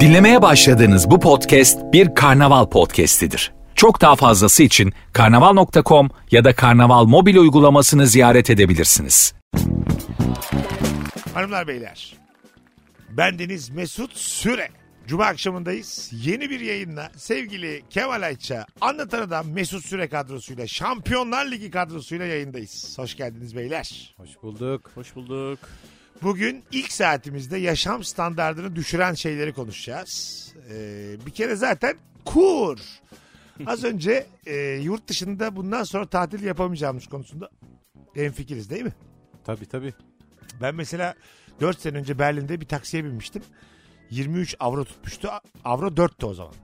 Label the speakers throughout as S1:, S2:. S1: Dinlemeye başladığınız bu podcast bir karnaval podcastidir. Çok daha fazlası için karnaval.com ya da karnaval mobil uygulamasını ziyaret edebilirsiniz.
S2: Hanımlar beyler. Bendeniz Mesut Süre. Cuma akşamındayız. Yeni bir yayınla sevgili Kemal Ayça, Anlatan Adam Mesut Süre kadrosuyla, Şampiyonlar Ligi kadrosuyla yayındayız. Hoş geldiniz beyler.
S3: Hoş bulduk.
S4: Hoş bulduk.
S2: Bugün ilk saatimizde yaşam standartını düşüren şeyleri konuşacağız. Ee, bir kere zaten kur. Az önce e, yurt dışında bundan sonra tatil yapamayacağımız konusunda hemfikiriz değil mi?
S3: Tabii tabii.
S2: Ben mesela 4 sene önce Berlin'de bir taksiye binmiştim. 23 avro tutmuştu. Avro 4'tü o zaman.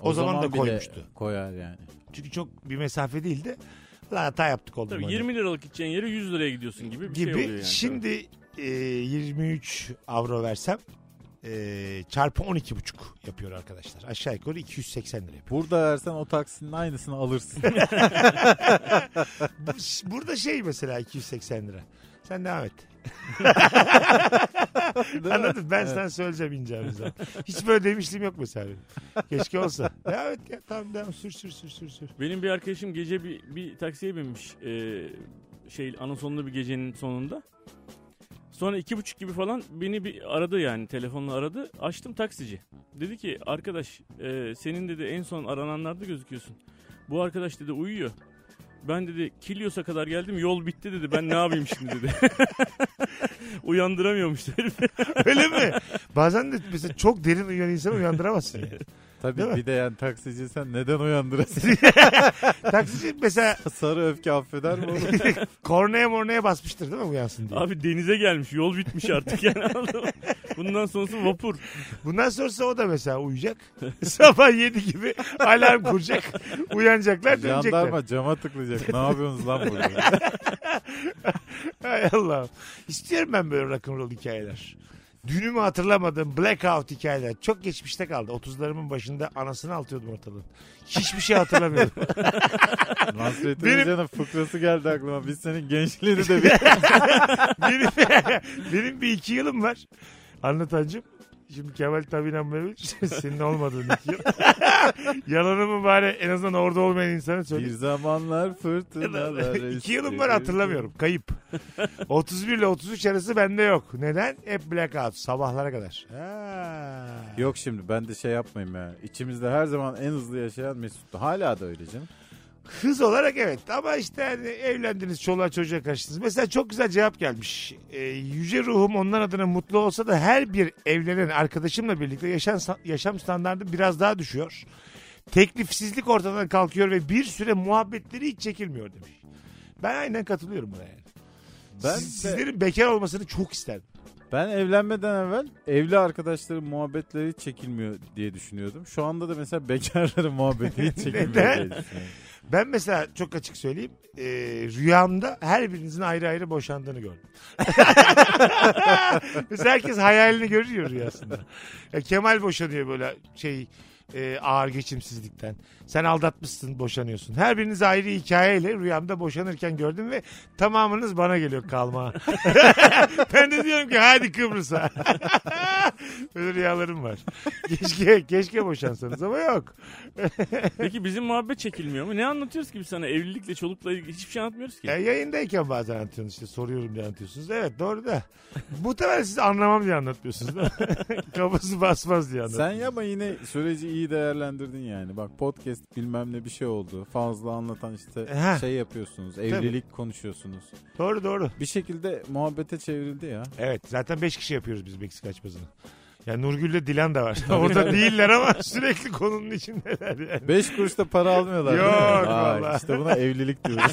S2: O, zaman, da
S3: bile
S2: koymuştu.
S3: Koyar yani.
S2: Çünkü çok bir mesafe değildi. Lan hata yaptık oldu.
S4: Tabii
S2: mu?
S4: 20 liralık gideceğin yere 100 liraya gidiyorsun gibi bir
S2: gibi.
S4: şey oluyor yani.
S2: Şimdi e, 23 avro versem e, çarpı 12,5 yapıyor arkadaşlar. Aşağı yukarı 280 lira yapıyor.
S3: Burada versen o taksinin aynısını alırsın.
S2: Bu- Burada şey mesela 280 lira. Sen devam et. Anladın ben sana söyleyeceğim ineceğim zaman. Hiç böyle demişliğim yok mesela benim. Keşke olsa. Devam et ya tamam devam sür sür sür sür sür.
S4: Benim bir arkadaşım gece bir, bir taksiye binmiş. Ee, şey anın sonunda bir gecenin sonunda. Sonra iki buçuk gibi falan beni bir aradı yani telefonla aradı. Açtım taksici. Dedi ki arkadaş e, senin dedi en son arananlarda gözüküyorsun. Bu arkadaş dedi uyuyor. Ben dedi Kilyos'a kadar geldim yol bitti dedi. Ben ne yapayım şimdi dedi. Uyandıramıyormuş herif.
S2: Öyle mi? Bazen de mesela çok derin uyuyan insanı uyandıramazsın yani. Değil
S3: tabii
S2: mi?
S3: bir de yani taksici sen neden uyandırasın?
S2: Taksici mesela
S3: Sarı öfke affeder mi oğlum?
S2: kornaya mornaya basmıştır değil mi uyansın diye.
S4: Abi denize gelmiş yol bitmiş artık yani. anladın mı? Bundan sonrası vapur.
S2: Bundan sonrası o da mesela uyuyacak. Sabah 7 gibi alarm kuracak. Uyanacaklar dönecekler.
S3: Jandarma cama tıklayacak. ne yapıyorsunuz lan burada?
S2: Hay Allah. İstiyorum ben böyle rock'n'roll hikayeler. Dünümü hatırlamadığım blackout hikayeler. Çok geçmişte kaldı. 30'larımın başında anasını altıyordum ortalığı. Hiçbir şey hatırlamıyorum.
S3: Nasrettin
S2: Benim-
S3: Hoca'nın fıkrası geldi aklıma. Biz senin gençliğini de bir...
S2: benim, benim bir iki yılım var. Anlatancım. Şimdi Kemal tabi inanmıyor. Senin olmadığın iki yıl. Yalanımı bari en azından orada olmayan insana söyle.
S3: bir zamanlar fırtınalar...
S2: İki yılım var hatırlamıyorum. Kayıp. 31 ile 33 arası bende yok. Neden? Hep blackout. Sabahlara kadar. Ha.
S3: Yok şimdi ben de şey yapmayayım ya. İçimizde her zaman en hızlı yaşayan Mesut'tu. Hala da öyle canım.
S2: Hız olarak evet ama işte hani evlendiniz çoluğa çocuğa karşısınız. Mesela çok güzel cevap gelmiş. Ee, yüce ruhum onlar adına mutlu olsa da her bir evlenen arkadaşımla birlikte yaşam, yaşam standartı biraz daha düşüyor. Teklifsizlik ortadan kalkıyor ve bir süre muhabbetleri hiç çekilmiyor demiş. Ben aynen katılıyorum buna yani.
S3: Ben
S2: Siz-
S3: de-
S2: sizlerin bekar olmasını çok isterdim.
S3: Ben evlenmeden evvel evli arkadaşların muhabbetleri hiç çekilmiyor diye düşünüyordum. Şu anda da mesela bekarların muhabbeti hiç çekilmiyor
S2: Neden?
S3: diye düşünüyorum.
S2: Ben mesela çok açık söyleyeyim. e, rüyamda her birinizin ayrı ayrı boşandığını gördüm. mesela herkes hayalini görüyor rüyasında. Ya Kemal boşanıyor böyle şey e, ağır geçimsizlikten. Sen aldatmışsın boşanıyorsun. Her biriniz ayrı hikayeyle rüyamda boşanırken gördüm ve tamamınız bana geliyor kalma. ben de diyorum ki hadi Kıbrıs'a. Böyle rüyalarım var. Keşke, keşke boşansanız ama yok.
S4: Peki bizim muhabbet çekilmiyor mu? Ne anlatıyoruz ki biz sana evlilikle çolukla ilgili hiçbir şey anlatmıyoruz ki.
S2: Ya E, yayındayken bazen anlatıyorsunuz işte soruyorum diye anlatıyorsunuz. Evet doğru da. Muhtemelen siz anlamam diye anlatmıyorsunuz. değil mi? Kafası basmaz diye
S3: Sen
S2: anlatıyorsunuz.
S3: yama yine süreci iyi değerlendirdin yani. Bak podcast bilmem ne bir şey oldu. Fazla anlatan işte
S2: E, Ha.
S3: şey yapıyorsunuz. Evlilik konuşuyorsunuz.
S2: Doğru doğru.
S3: Bir şekilde muhabbete çevrildi ya.
S2: Evet zaten 5 kişi yapıyoruz biz Meksika açmasını. Ya Nurgül'le Dilan da var. Orada değiller ama sürekli konunun içindeler yani.
S3: Beş kuruşta para almıyorlar. değil mi?
S2: Yok
S3: Vay,
S2: vallahi.
S3: İşte buna evlilik diyoruz.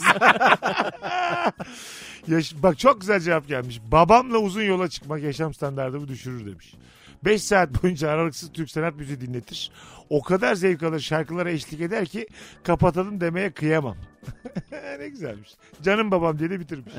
S2: Yaş- bak çok güzel cevap gelmiş. Babamla uzun yola çıkmak yaşam standartımı düşürür demiş. 5 saat boyunca aralıksız Türk sanat müziği dinletir. o kadar zevk alır şarkılara eşlik eder ki kapatalım demeye kıyamam. ne güzelmiş. Canım babam diye de bitirmiş.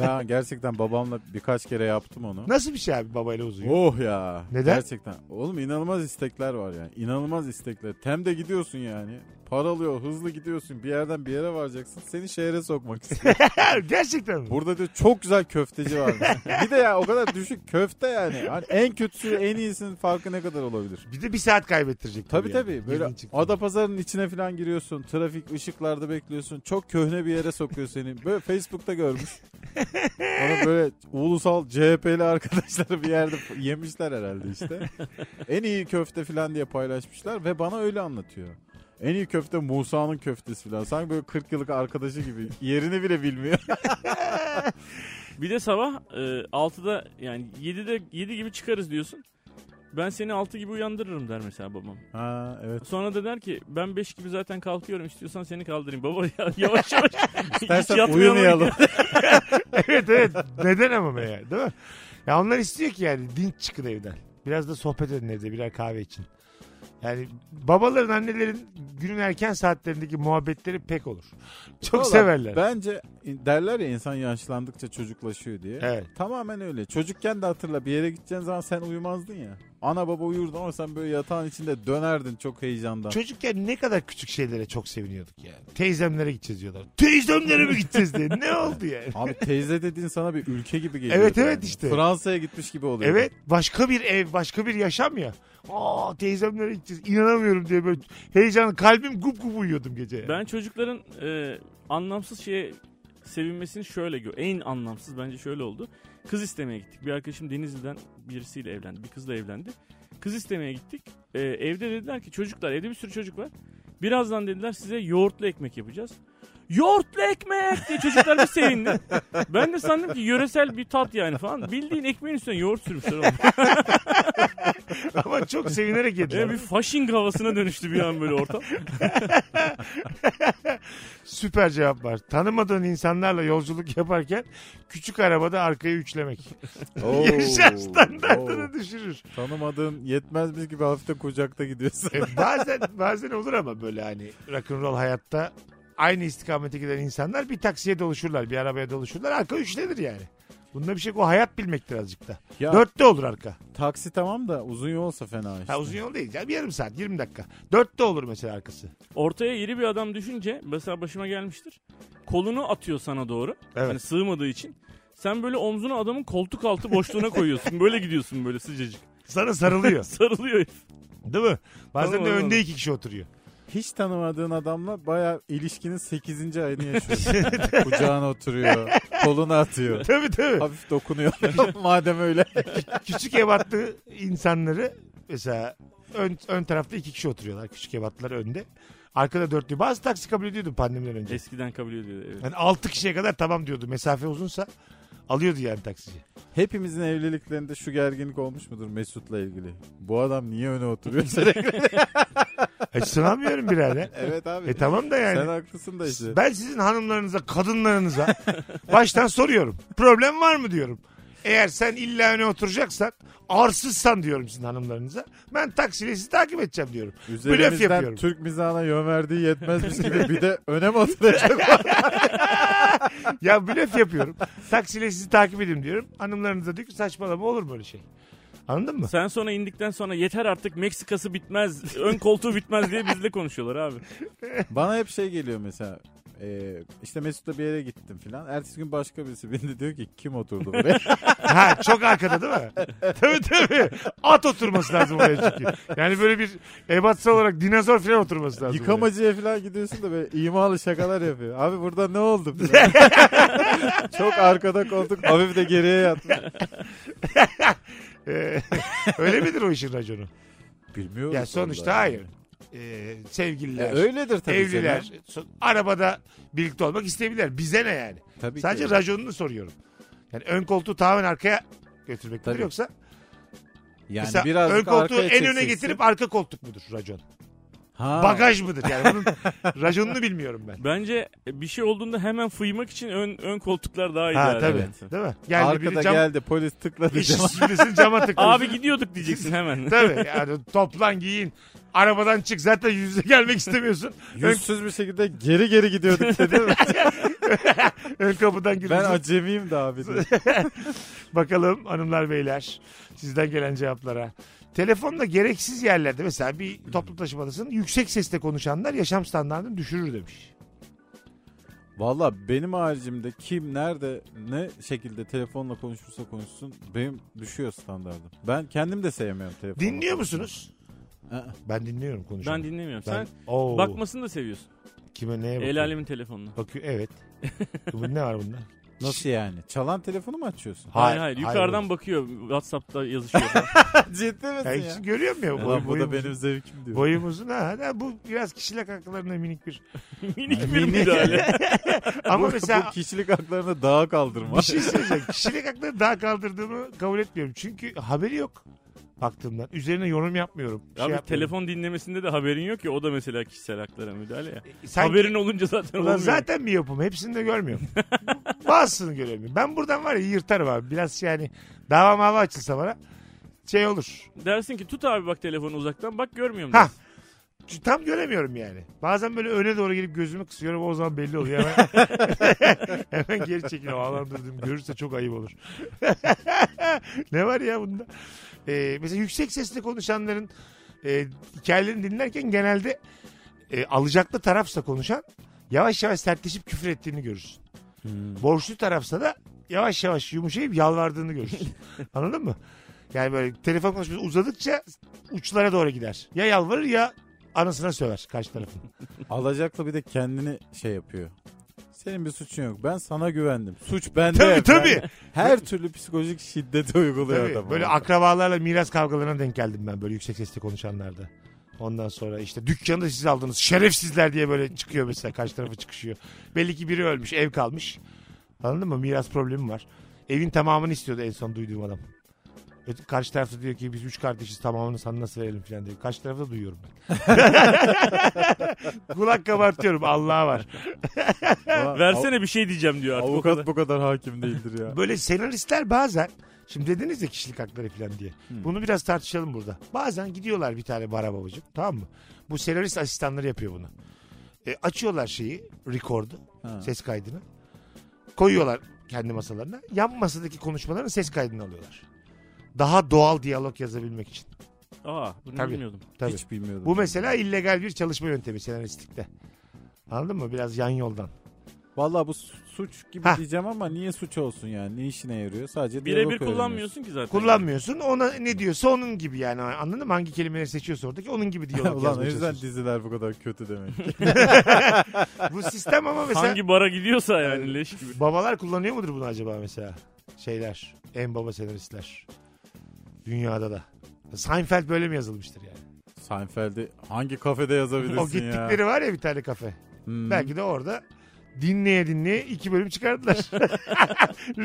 S3: Ben gerçekten babamla birkaç kere yaptım onu.
S2: Nasıl bir şey abi babayla uzun? yol?
S3: Oh ya.
S2: Neden?
S3: Gerçekten. Oğlum inanılmaz istekler var yani. İnanılmaz istekler. Temde gidiyorsun yani. Paralıyor, hızlı gidiyorsun. Bir yerden bir yere varacaksın. Seni şehre sokmak istiyor.
S2: Ha, Gerçekten mi?
S3: Burada diyor çok güzel köfteci varmış. bir de ya o kadar düşük köfte yani. Hani en kötüsü en iyisinin farkı ne kadar olabilir?
S2: Bir de bir saat kaybettirecek.
S3: Tabii
S2: yani.
S3: tabii. Böyle
S2: Girdin çıktın.
S3: Adapazarı'nın içine falan giriyorsun. Trafik ışıklarda bekliyorsun. Çok köhne bir yere sokuyor seni. Böyle Facebook'ta görmüş. Onu böyle ulusal CHP'li arkadaşları bir yerde yemişler herhalde işte. En iyi köfte falan diye paylaşmışlar ve bana öyle anlatıyor. En iyi köfte Musa'nın köftesi falan. Sanki böyle 40 yıllık arkadaşı gibi. Yerini bile bilmiyor.
S4: Bir de sabah e, 6'da yani 7'de 7 gibi çıkarız diyorsun. Ben seni 6 gibi uyandırırım der mesela babam.
S3: ha evet.
S4: Sonra da der ki ben 5 gibi zaten kalkıyorum istiyorsan seni kaldırayım. Baba ya, yavaş yavaş. Hiç
S3: İstersen
S4: yatmayalım.
S3: uyumayalım.
S2: evet evet. Neden ama be ya değil mi? Ya onlar istiyor ki yani dinç çıkın evden. Biraz da sohbet edin evde birer kahve için. Yani babaların annelerin günün erken saatlerindeki muhabbetleri pek olur. Çok
S3: Vallahi
S2: severler.
S3: Bence derler ya insan yaşlandıkça çocuklaşıyor diye.
S2: Evet.
S3: Tamamen öyle. Çocukken de hatırla bir yere gideceğin zaman sen uyumazdın ya. Ana baba uyurdu ama sen böyle yatağın içinde dönerdin çok heyecandan.
S2: Çocukken ne kadar küçük şeylere çok seviniyorduk yani. Teyzemlere gideceğiz diyorlar. Teyzemlere mi gideceğiz diye. Ne oldu yani?
S3: Abi teyze dediğin sana bir ülke gibi geliyor.
S2: Evet, evet işte.
S3: Fransa'ya gitmiş gibi oluyor.
S2: Evet başka bir ev başka bir yaşam ya. Aa teyzemlere gideceğiz inanamıyorum diye böyle heyecan kalbim gup gup uyuyordum gece. yani.
S4: Ben çocukların e, anlamsız şeye sevinmesini şöyle gör. En anlamsız bence şöyle oldu. Kız istemeye gittik. Bir arkadaşım Denizli'den birisiyle evlendi. Bir kızla evlendi. Kız istemeye gittik. E, evde dediler ki çocuklar evde bir sürü çocuk var. Birazdan dediler size yoğurtlu ekmek yapacağız. Yoğurtlu ekmek diye çocuklar bir sevindi. Ben de sandım ki yöresel bir tat yani falan. Bildiğin ekmeğin üstüne yoğurt sürmüşler. oğlum.
S2: Ama çok sevinerek
S4: E,
S2: yediler.
S4: bir faşing havasına dönüştü bir an böyle ortam.
S2: Süper cevap var. Tanımadığın insanlarla yolculuk yaparken küçük arabada arkaya üçlemek.
S3: Oo,
S2: Yaşam
S3: oo.
S2: standartını düşürür.
S3: Tanımadığın yetmezmiş gibi hafiften kucakta gidiyorsun.
S2: E, bazen bazen olur ama böyle hani rock'n'roll hayatta aynı istikamete giden insanlar bir taksiye doluşurlar, bir arabaya doluşurlar. Arka üçlenir yani. Bunda bir şey yok. o hayat bilmektir azıcık da.
S3: ya
S2: Dörtte olur arka.
S3: taksi tamam da uzun yolsa fena işte.
S2: Ha uzun yol değil ya bir yarım saat 20 dakika. Dörtte olur mesela arkası.
S4: Ortaya iri bir adam düşünce mesela başıma gelmiştir. Kolunu atıyor sana doğru.
S2: Evet.
S4: Hani sığmadığı için. Sen böyle omzunu adamın koltuk altı boşluğuna koyuyorsun. Böyle gidiyorsun böyle sıcacık.
S2: Sana sarılıyor
S4: Sarılıyor herif.
S2: değil mi? Bazen
S4: Tamam,
S2: de
S4: anladım.
S2: önde iki kişi oturuyor.
S3: Hiç tanımadığın adamla bayağı ilişkinin 8. ayını yaşıyorsun. Kucağına oturuyor. Kolunu atıyor.
S2: Tabii tabii.
S3: hafif dokunuyor. Madem öyle.
S2: küçük ebatlı insanları mesela ön, ön tarafta iki kişi oturuyorlar. Küçük ebatlılar önde. Arkada dörtlü. Bazı taksi kabul ediyordu pandemiden önce.
S4: Eskiden kabul ediyordu. Evet.
S2: Yani altı kişiye kadar tamam diyordu. Mesafe uzunsa alıyordu yani taksici.
S3: Hepimizin evliliklerinde şu gerginlik olmuş mudur Mesut'la ilgili? Bu adam niye öne oturuyor sürekli?
S2: Hiç sınamıyorum E, birader.
S3: evet abi.
S2: E tamam da
S3: Sen
S2: yani.
S3: haklısın da işte.
S2: Ben sizin hanımlarınıza, kadınlarınıza baştan soruyorum. Problem var mı diyorum. Eğer sen illa öne oturacaksan, arsızsan diyorum sizin hanımlarınıza. Ben taksiyle sizi takip edeceğim diyorum. Blöf
S3: Üzerimizden
S2: yapıyorum.
S3: Türk mizahına yön verdiği yetmezmiş gibi bir de öne mi oturacak?
S2: ya blöf yapıyorum. Taksiyle sizi takip edeyim diyorum. Hanımlarınız da diyor ki saçmalama olur mu öyle şey? Anladın mı?
S4: Sen sonra indikten sonra yeter artık Meksikası bitmez, ön koltuğu bitmez diye bizle konuşuyorlar abi.
S3: Bana hep şey geliyor mesela. E, işte Mesut'la bir yere gittim filan. Ertesi gün başka birisi bindi diyor ki kim oturdu buraya?
S2: ha çok arkada değil mi? tabii tabii. At oturması lazım oraya çünkü. Yani böyle bir ebatsal olarak dinozor falan oturması lazım. oraya.
S3: Yıkamacıya filan gidiyorsun da böyle imalı şakalar yapıyor. Abi burada ne oldu? filan. Çok arkada koltuk hafif de geriye yatmış.
S2: Ee, öyle midir o işin raconu?
S3: Bilmiyorum.
S2: ya sonuçta hayır. Ee, sevgililer.
S3: öyledir tabii
S2: Evliler
S3: canım.
S2: so- arabada birlikte olmak isteyebilirler. Bize ne yani?
S3: Tabii
S2: Sadece
S3: ki.
S2: raconunu soruyorum. Yani ön koltuğu tamamen arkaya götürmek midir
S3: Tabii.
S2: yoksa
S3: yani
S2: Mesela
S3: birazcık
S2: ön koltuğu
S3: arkaya
S2: en öne
S3: çekeceksin.
S2: getirip arka koltuk mudur racon?
S3: Ha.
S2: Bagaj mıdır? Yani bunun raconunu bilmiyorum ben.
S4: Bence bir şey olduğunda hemen fıymak için ön ön koltuklar daha iyi.
S2: Ha
S4: yani.
S2: tabii.
S4: Evet.
S2: Değil mi? Geldi
S3: Arkada
S2: biri cam,
S3: geldi polis tıkladı.
S2: İş
S3: cama.
S2: birisini cama tıkladı.
S4: Abi gidiyorduk diyeceksin hemen.
S2: Tabii yani toplan giyin. Arabadan çık zaten yüzle gelmek istemiyorsun.
S3: Yüzsüz bir şekilde geri geri gidiyorduk dedi.
S2: Ön kapıdan gir.
S3: ben acemiyim de abi. dedi.
S2: Bakalım hanımlar beyler sizden gelen cevaplara. Telefonda gereksiz yerlerde mesela bir toplu taşımadasın yüksek sesle konuşanlar yaşam standartını düşürür demiş.
S3: Valla benim haricimde kim nerede ne şekilde telefonla konuşursa konuşsun benim düşüyor standardım. Ben kendim de sevmiyorum telefonu.
S2: Dinliyor musunuz?
S3: Aa.
S2: Ben dinliyorum konuşanı.
S4: Ben dinlemiyorum.
S2: Ben-
S4: Sen
S2: Oo,
S4: bakmasını da seviyorsun.
S2: Kime neye bakıyor?
S4: El alemin telefonuna.
S2: Bakıyor evet. Bu ne var bunda?
S3: Nasıl yani? Çalan telefonu mu açıyorsun?
S4: Hayır hayır. Yukarıdan bakıyor. Whatsapp'ta yazışıyor. falan.
S3: Ciddi misin
S2: Yani hiç görüyor musun? ya?
S3: Ulan
S2: Boy,
S3: bu da
S2: boyumuz-
S3: benim zevkim diyor.
S2: boyumuzun ha. ha, Bu biraz kişilik haklarına minik bir.
S4: Minik bir müdahale.
S2: Ama
S3: Bu-
S2: mesela
S3: bu kişilik haklarını daha kaldırma.
S2: Bir şey söyleyeceğim. Kişilik hakları daha kaldırdığımı kabul etmiyorum. Çünkü haberi yok baktığımdan. Üzerine yorum yapmıyorum. Şey
S4: Abi
S2: yapmıyorum.
S4: telefon dinlemesinde de haberin yok ya. O da mesela kişisel haklara müdahale ya.
S2: Sanki-
S4: Haberin olunca zaten
S2: Ulan
S4: olmuyor.
S2: zaten bir yapım. Hepsini de görmüyorum. Bazısını göremiyorum. Ben buradan var ya yırtarım abi. Biraz yani dava mava açılsa bana şey olur.
S4: Dersin ki tut abi bak telefonu uzaktan. Bak görmüyorum.
S2: Ha.
S4: dersin.
S2: Çünkü Tam göremiyorum yani. Bazen böyle öne doğru gelip gözümü kısıyorum o zaman belli oluyor. Hemen, hemen geri çekiliyorum. Allah'ım dedim görürse çok ayıp olur. ne var ya bunda? Ee, mesela yüksek sesle konuşanların e, hikayelerini dinlerken genelde e, alacaklı tarafsa konuşan yavaş yavaş sertleşip küfür ettiğini görürsün. Borçlu tarafsa da yavaş yavaş yumuşayıp yalvardığını görürsün. Anladın mı? Yani böyle telefon konuşması uzadıkça uçlara doğru gider. Ya yalvarır ya anasına söver karşı tarafın.
S3: Alacaklı bir de kendini şey yapıyor. Senin bir suçun yok. Ben sana güvendim. Suç bende.
S2: Tabii,
S3: Ben-
S2: tabii.
S3: her türlü psikolojik şiddeti uyguluyor
S2: Tabii,
S3: adam.
S2: böyle
S3: orada.
S2: akrabalarla miras kavgalarına denk geldim ben böyle yüksek sesle konuşanlarda. Ondan sonra işte dükkanı da siz aldınız şerefsizler diye böyle çıkıyor mesela karşı tarafa çıkışıyor. Belli ki biri ölmüş ev kalmış. Anladın mı miras problemi var. Evin tamamını istiyordu en son duyduğum adam. Öte- Karşı tarafta diyor ki biz üç kardeşiz tamamını sana nasıl verelim falan diyor. Karşı tarafta duyuyorum ben. Kulak kabartıyorum Allah'a var.
S3: Ulan
S4: Versene bir şey diyeceğim diyor
S3: av-
S4: artık. o kadar.
S3: Avukat bu kadar hakim değildir ya.
S2: Böyle senaristler bazen şimdi dediniz ya kişilik hakları falan diye. Bunu biraz tartışalım burada. Bazen gidiyorlar bir tane bara babacığım tamam mı? Bu senarist asistanları yapıyor bunu. E, açıyorlar şeyi, rekordu,
S3: Ha.
S2: ses kaydını. Koyuyorlar kendi masalarına. Yan masadaki konuşmaların ses kaydını alıyorlar. Daha doğal diyalog yazabilmek için.
S4: Aa bunu
S2: Tabii.
S4: bilmiyordum.
S2: Tabii.
S3: Hiç bilmiyordum.
S2: Bu mesela illegal bir çalışma yöntemi senaristlikte. Anladın mı? Biraz yan yoldan.
S3: Valla bu su- suç gibi
S2: Hah.
S3: diyeceğim ama niye suç olsun yani? Ne işine yarıyor? Sadece diyalog
S4: Birebir
S3: öğreniyorsun.
S4: kullanmıyorsun ki zaten.
S2: Kullanmıyorsun. Ona ne diyorsa onun gibi yani. Anladın mı? Hangi kelimeleri seçiyorsa oradaki onun gibi diyalog
S3: Ulan o
S2: yazmaya
S3: yüzden
S2: çalışıyorsun.
S3: diziler bu kadar kötü demek.
S2: Bu sistem ama mesela
S4: Hangi bara gidiyorsa yani leş gibi.
S2: babalar kullanıyor mudur bunu acaba mesela? Şeyler, en baba senaristler. Dünyada da. Seinfeld böyle mi yazılmıştır yani?
S3: Seinfeld'i hangi kafede yazabilirsin
S2: o gittikleri
S3: ya?
S2: var ya bir tane kafe.
S3: Hmm.
S2: Belki de orada dinleye dinleye iki bölüm çıkardılar.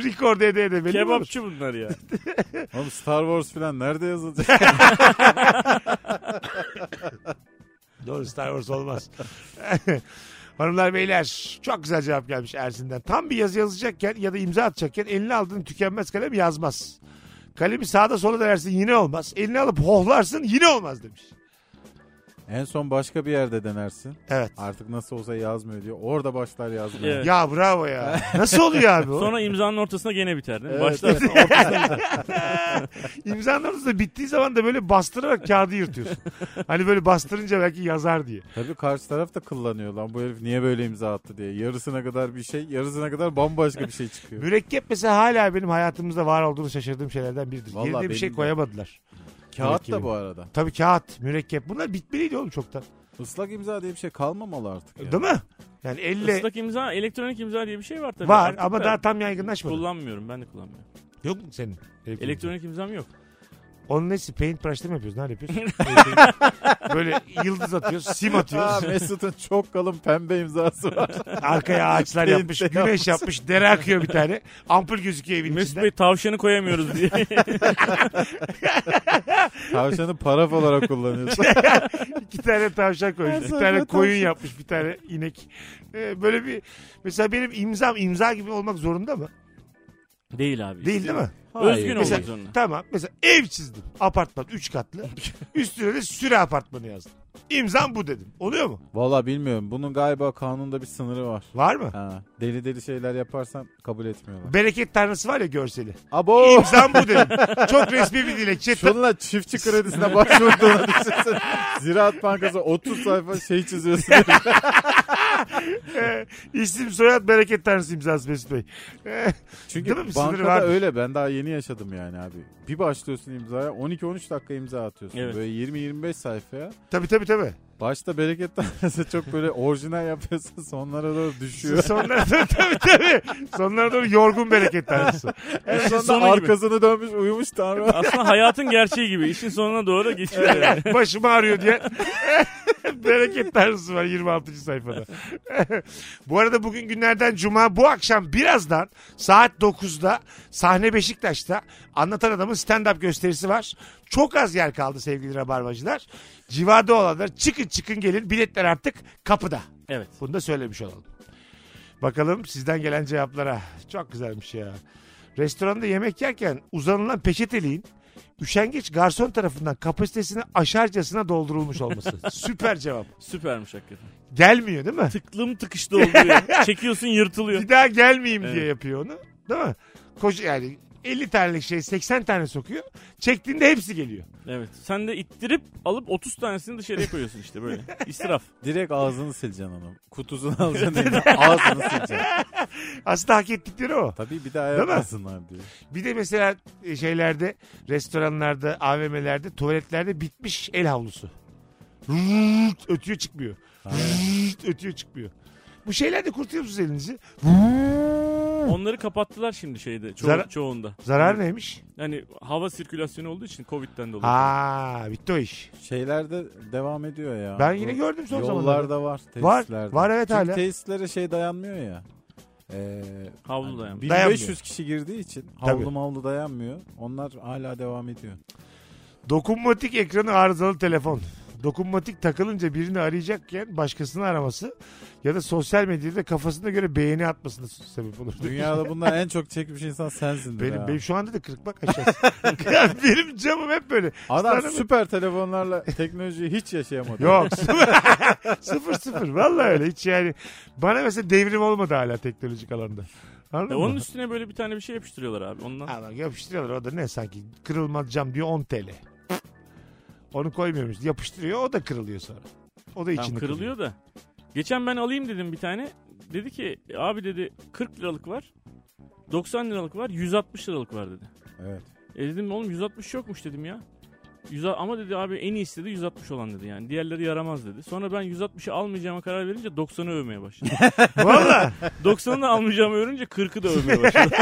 S2: Record ede ede belli mi olur?
S4: Kebapçı bunlar ya.
S3: Oğlum Star Wars falan nerede yazılacak?
S2: Doğru Star Wars olmaz. Hanımlar beyler çok güzel cevap gelmiş Ersin'den. Tam bir yazı yazacakken ya da imza atacakken eline aldığın tükenmez kalem yazmaz. Kalemi sağda sola dersin yine olmaz. Eline alıp hohlarsın yine olmaz demiş.
S3: en son başka bir yerde denersin.
S2: Evet.
S3: Artık nasıl olsa yazmıyor diyor. Orada başlar yazmıyor.
S4: Evet.
S2: Ya bravo ya. Nasıl oluyor abi o?
S4: Sonra imzanın ortasına gene biter değil mi?
S3: Evet.
S4: Başlar.
S2: İmzanın ortasında bittiği zaman da böyle bastırarak kağıdı yırtıyorsun. hani böyle bastırınca belki yazar diye.
S3: Tabii karşı taraf da kullanıyor lan bu herif niye böyle imza attı diye. Yarısına kadar bir şey, yarısına kadar bambaşka bir şey çıkıyor.
S2: Mürekkep mesela hala benim hayatımızda var olduğunu şaşırdığım şeylerden biridir.
S3: Vallahi
S2: Yerine bir şey
S3: benim de.
S2: koyamadılar.
S3: Kağıt da bu arada.
S2: Tabii kağıt, mürekkep bunlar bitmeliydi oğlum çoktan.
S3: Islak imza diye bir şey kalmamalı artık. ya.
S2: Değil mi? Yani elle
S4: Islak imza, elektronik imza diye bir şey var tabii.
S2: var
S4: Artık
S2: ama
S4: da
S2: daha tam yaygınlaşmadı.
S4: kullanmıyorum. Ben de kullanmıyorum.
S2: Yok mu senin?
S4: Elektronik imzam yok.
S2: Onun nesi paintbrush'ta mı yapıyoruz? Nerede yapıyoruz? Böyle yıldız atıyoruz, sim
S3: Aa,
S2: atıyoruz.
S3: Mesut'un çok kalın pembe imzası var.
S2: Arkaya ağaçlar
S3: Paint
S2: yapmış,
S3: de
S2: güneş yapmış, dere akıyor bir tane. Ampul gözüküyor evin
S4: Mesut
S2: içinden.
S4: Bey tavşanı koyamıyoruz diye.
S3: Tavşanı paraf olarak kullanıyorsun.
S2: İki tane tavşan koymuş.
S3: Her
S2: Bir
S3: zaman
S2: tane koyun
S3: tavşan.
S2: yapmış. Bir tane inek. Ee, böyle bir mesela benim imzam imza gibi olmak zorunda mı?
S4: değil abi.
S2: Değil değil mi?
S4: Özgün
S3: Hayır.
S4: olmak
S2: Mesela-
S4: zorunda.
S2: Tamam. Mesela ev çizdim. Apartman 3 katlı. Üstüne de süre apartmanı yazdım. İmzam bu dedim. Oluyor mu?
S3: Valla bilmiyorum. Bunun galiba kanunda bir sınırı var.
S2: Var mı?
S3: Ha, deli deli şeyler yaparsan kabul etmiyorlar.
S2: Bereket tanrısı var ya görseli.
S3: Abo!
S2: İmzam bu dedim. Çok resmi bir dilekçe.
S3: Şunla çiftçi kredisine başvurduğunu düşünsene. Ziraat Bankası 30 sayfa şey çiziyorsun.
S2: Ee, İsim soyad bereket tanrısı imzası Mesut Bey. Ee,
S3: Çünkü
S2: Değil mi? Bir sınırı
S3: bankada
S2: vardır.
S3: öyle ben daha yeni yaşadım yani abi. Bir başlıyorsun imzaya 12-13 dakika imza atıyorsun.
S4: Evet.
S3: Böyle 20-25 sayfaya.
S2: tabii tabii tabii.
S3: Başta bereket tanesi çok böyle orijinal yapıyorsun sonlara doğru düşüyor.
S2: Sonlara doğru tabii tabii. Sonlara doğru yorgun bereket tanrısı.
S3: En
S4: sonu
S3: sonunda
S4: gibi.
S3: arkasını dönmüş uyumuş tanrı.
S4: Aslında hayatın gerçeği gibi. İşin sonuna doğru da geçiyor. yani.
S2: Başım ağrıyor diye. Bereket tanrısı var 26. sayfada. bu arada bugün günlerden cuma. Bu akşam birazdan saat 9'da sahne Beşiktaş'ta anlatan adamın stand-up gösterisi var. Çok az yer kaldı sevgili rabarbacılar. Civarda olanlar çıkın çıkın gelin biletler artık kapıda.
S4: Evet.
S2: Bunu da söylemiş olalım. Bakalım sizden gelen cevaplara. Çok güzelmiş ya. Restoranda yemek yerken uzanılan peçeteliğin üşengeç garson tarafından kapasitesini aşarcasına doldurulmuş olması. Süper cevap.
S4: Süpermiş hakikaten.
S2: Gelmiyor değil mi?
S4: Tıklım tıkışlı oluyor. Çekiyorsun yırtılıyor.
S2: Bir daha gelmeyeyim diye
S4: Evet.
S2: yapıyor onu. Değil mi? Koca yani 50 tanelik şey 80 tane sokuyor. Çektiğinde hepsi geliyor.
S4: Evet. Sen de ittirip alıp 30 tanesini dışarıya koyuyorsun işte böyle. İsraf.
S3: Direkt ağzını sileceksin onu. Kutusunu alacaksın eline, ağzını sileceksin.
S2: Aslında hak ettikleri o.
S3: Tabii bir daha
S2: Değil mi?
S3: yapmasınlar diye.
S2: Bir de mesela e, şeylerde, restoranlarda, AVM'lerde, tuvaletlerde bitmiş el havlusu. Rrrt ötüyor çıkmıyor. Rrrt ötüyor çıkmıyor. Bu şeylerde kurtuyor musunuz elinizi? Rrrt.
S4: Onları kapattılar şimdi şeyde. Ço-
S2: Zara-
S4: çoğunda.
S2: Zarar neymiş?
S4: Yani hava sirkülasyonu olduğu için Covid'den dolayı.
S2: Ha bitti o iş.
S3: Şeylerde devam ediyor ya.
S2: Ben
S3: Bu
S2: yine gördüm son zamanlarda.
S3: Yollarda var
S2: Var,
S3: tesislerde.
S2: var evet
S3: Çünkü
S2: hala.
S3: tesislere şey dayanmıyor ya. Ee,
S4: Havlu dayanmıyor.
S3: 1500
S2: Dayanmıyor.
S3: kişi girdiği için
S2: Tabii.
S3: havlu mavlu dayanmıyor. Onlar hala devam ediyor.
S2: Dokunmatik ekranı arızalı telefon. Dokunmatik takılınca birini arayacakken başkasını araması ya da sosyal medyada kafasına göre beğeni atmasına sebep olur.
S3: Dünyada bundan en çok çekmiş insan sensin.
S2: Benim, benim şu anda da kırık bak aşağısı. Yani benim camım hep böyle.
S3: Adam
S2: Sana-
S3: süper telefonlarla teknolojiyi hiç yaşayamadı.
S2: Yok sıfır. sıfır sıfır. Vallahi öyle hiç yani. Bana mesela devrim olmadı hala teknolojik alanda. Anladın
S4: E
S2: mı?
S4: onun üstüne böyle bir tane bir şey yapıştırıyorlar abi. Ondan
S2: Ha bak yapıştırıyorlar o da ne sanki kırılmaz cam diyor 10 TL. Onu koymuyormuş yapıştırıyor o da kırılıyor sonra. O da içinde
S4: Tam kırılıyor da. Geçen ben alayım dedim bir tane. Dedi ki "E, abi dedi 40 liralık var. 90 liralık var. 160 liralık var dedi.
S3: Evet.
S4: E dedim oğlum 160 yokmuş dedim ya. Yüz- ama dedi abi en iyisi dedi 160 olan dedi yani. Diğerleri yaramaz dedi. Sonra ben 160'ı almayacağıma karar verince 90'ı övmeye başladım.
S2: Valla
S4: 90'ı da almayacağımı öğrenince 40'ı da övmeye başladım.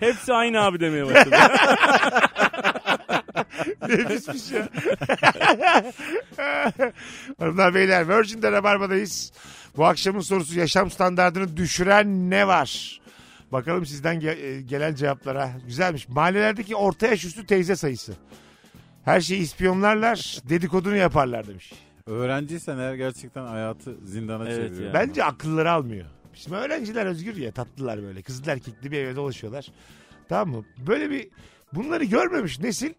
S4: Hepsi aynı abi demeye başladı.
S2: nefis bir şey. Hanımlar beyler Virgin'de Rabarba'dayız. Bu akşamın sorusu yaşam standartını düşüren ne var? Bakalım sizden ge- e, gelen cevaplara. Güzelmiş. Mahallelerdeki orta yaş üstü teyze sayısı. Her şeyi ispiyonlarlar, dedikodunu yaparlar demiş.
S3: Öğrenciysen eğer gerçekten hayatı zindana
S4: Evet
S3: çeviriyor.
S4: ya.
S2: Bence akılları almıyor. Şimdi öğrenciler özgür ya tatlılar böyle. Kızıl erkekli bir eve dolaşıyorlar. Tamam mı? Böyle bir bunları görmemiş nesil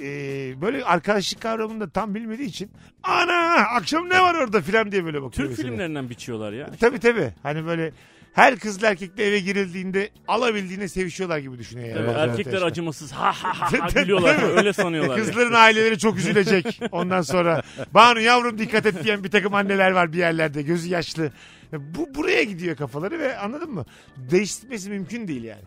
S2: eee, böyle arkadaşlık kavramını da tam bilmediği için ana akşam ne var orada filan diye böyle bakıyor.
S4: Türk
S2: mesela.
S4: filmlerinden biçiyorlar ya.
S2: Tabii tabii. Hani böyle her kızıl erkekle eve girildiğinde alabildiğine sevişiyorlar gibi düşünüyor. yani.
S4: Tabii
S2: Bazı
S4: erkekler
S2: arkadaşlar.
S4: acımasız ha ha ha, ha
S2: Tabii,
S4: gülüyorlar.
S2: tabii.
S4: Öyle sanıyorlar. ya.
S2: Kızların aileleri çok üzülecek ondan sonra. Banu yavrum dikkat et diyen bir takım anneler var bir yerlerde gözü yaşlı. Bu buraya gidiyor kafaları ve anladın mı? Değiştirmesi mümkün değil yani.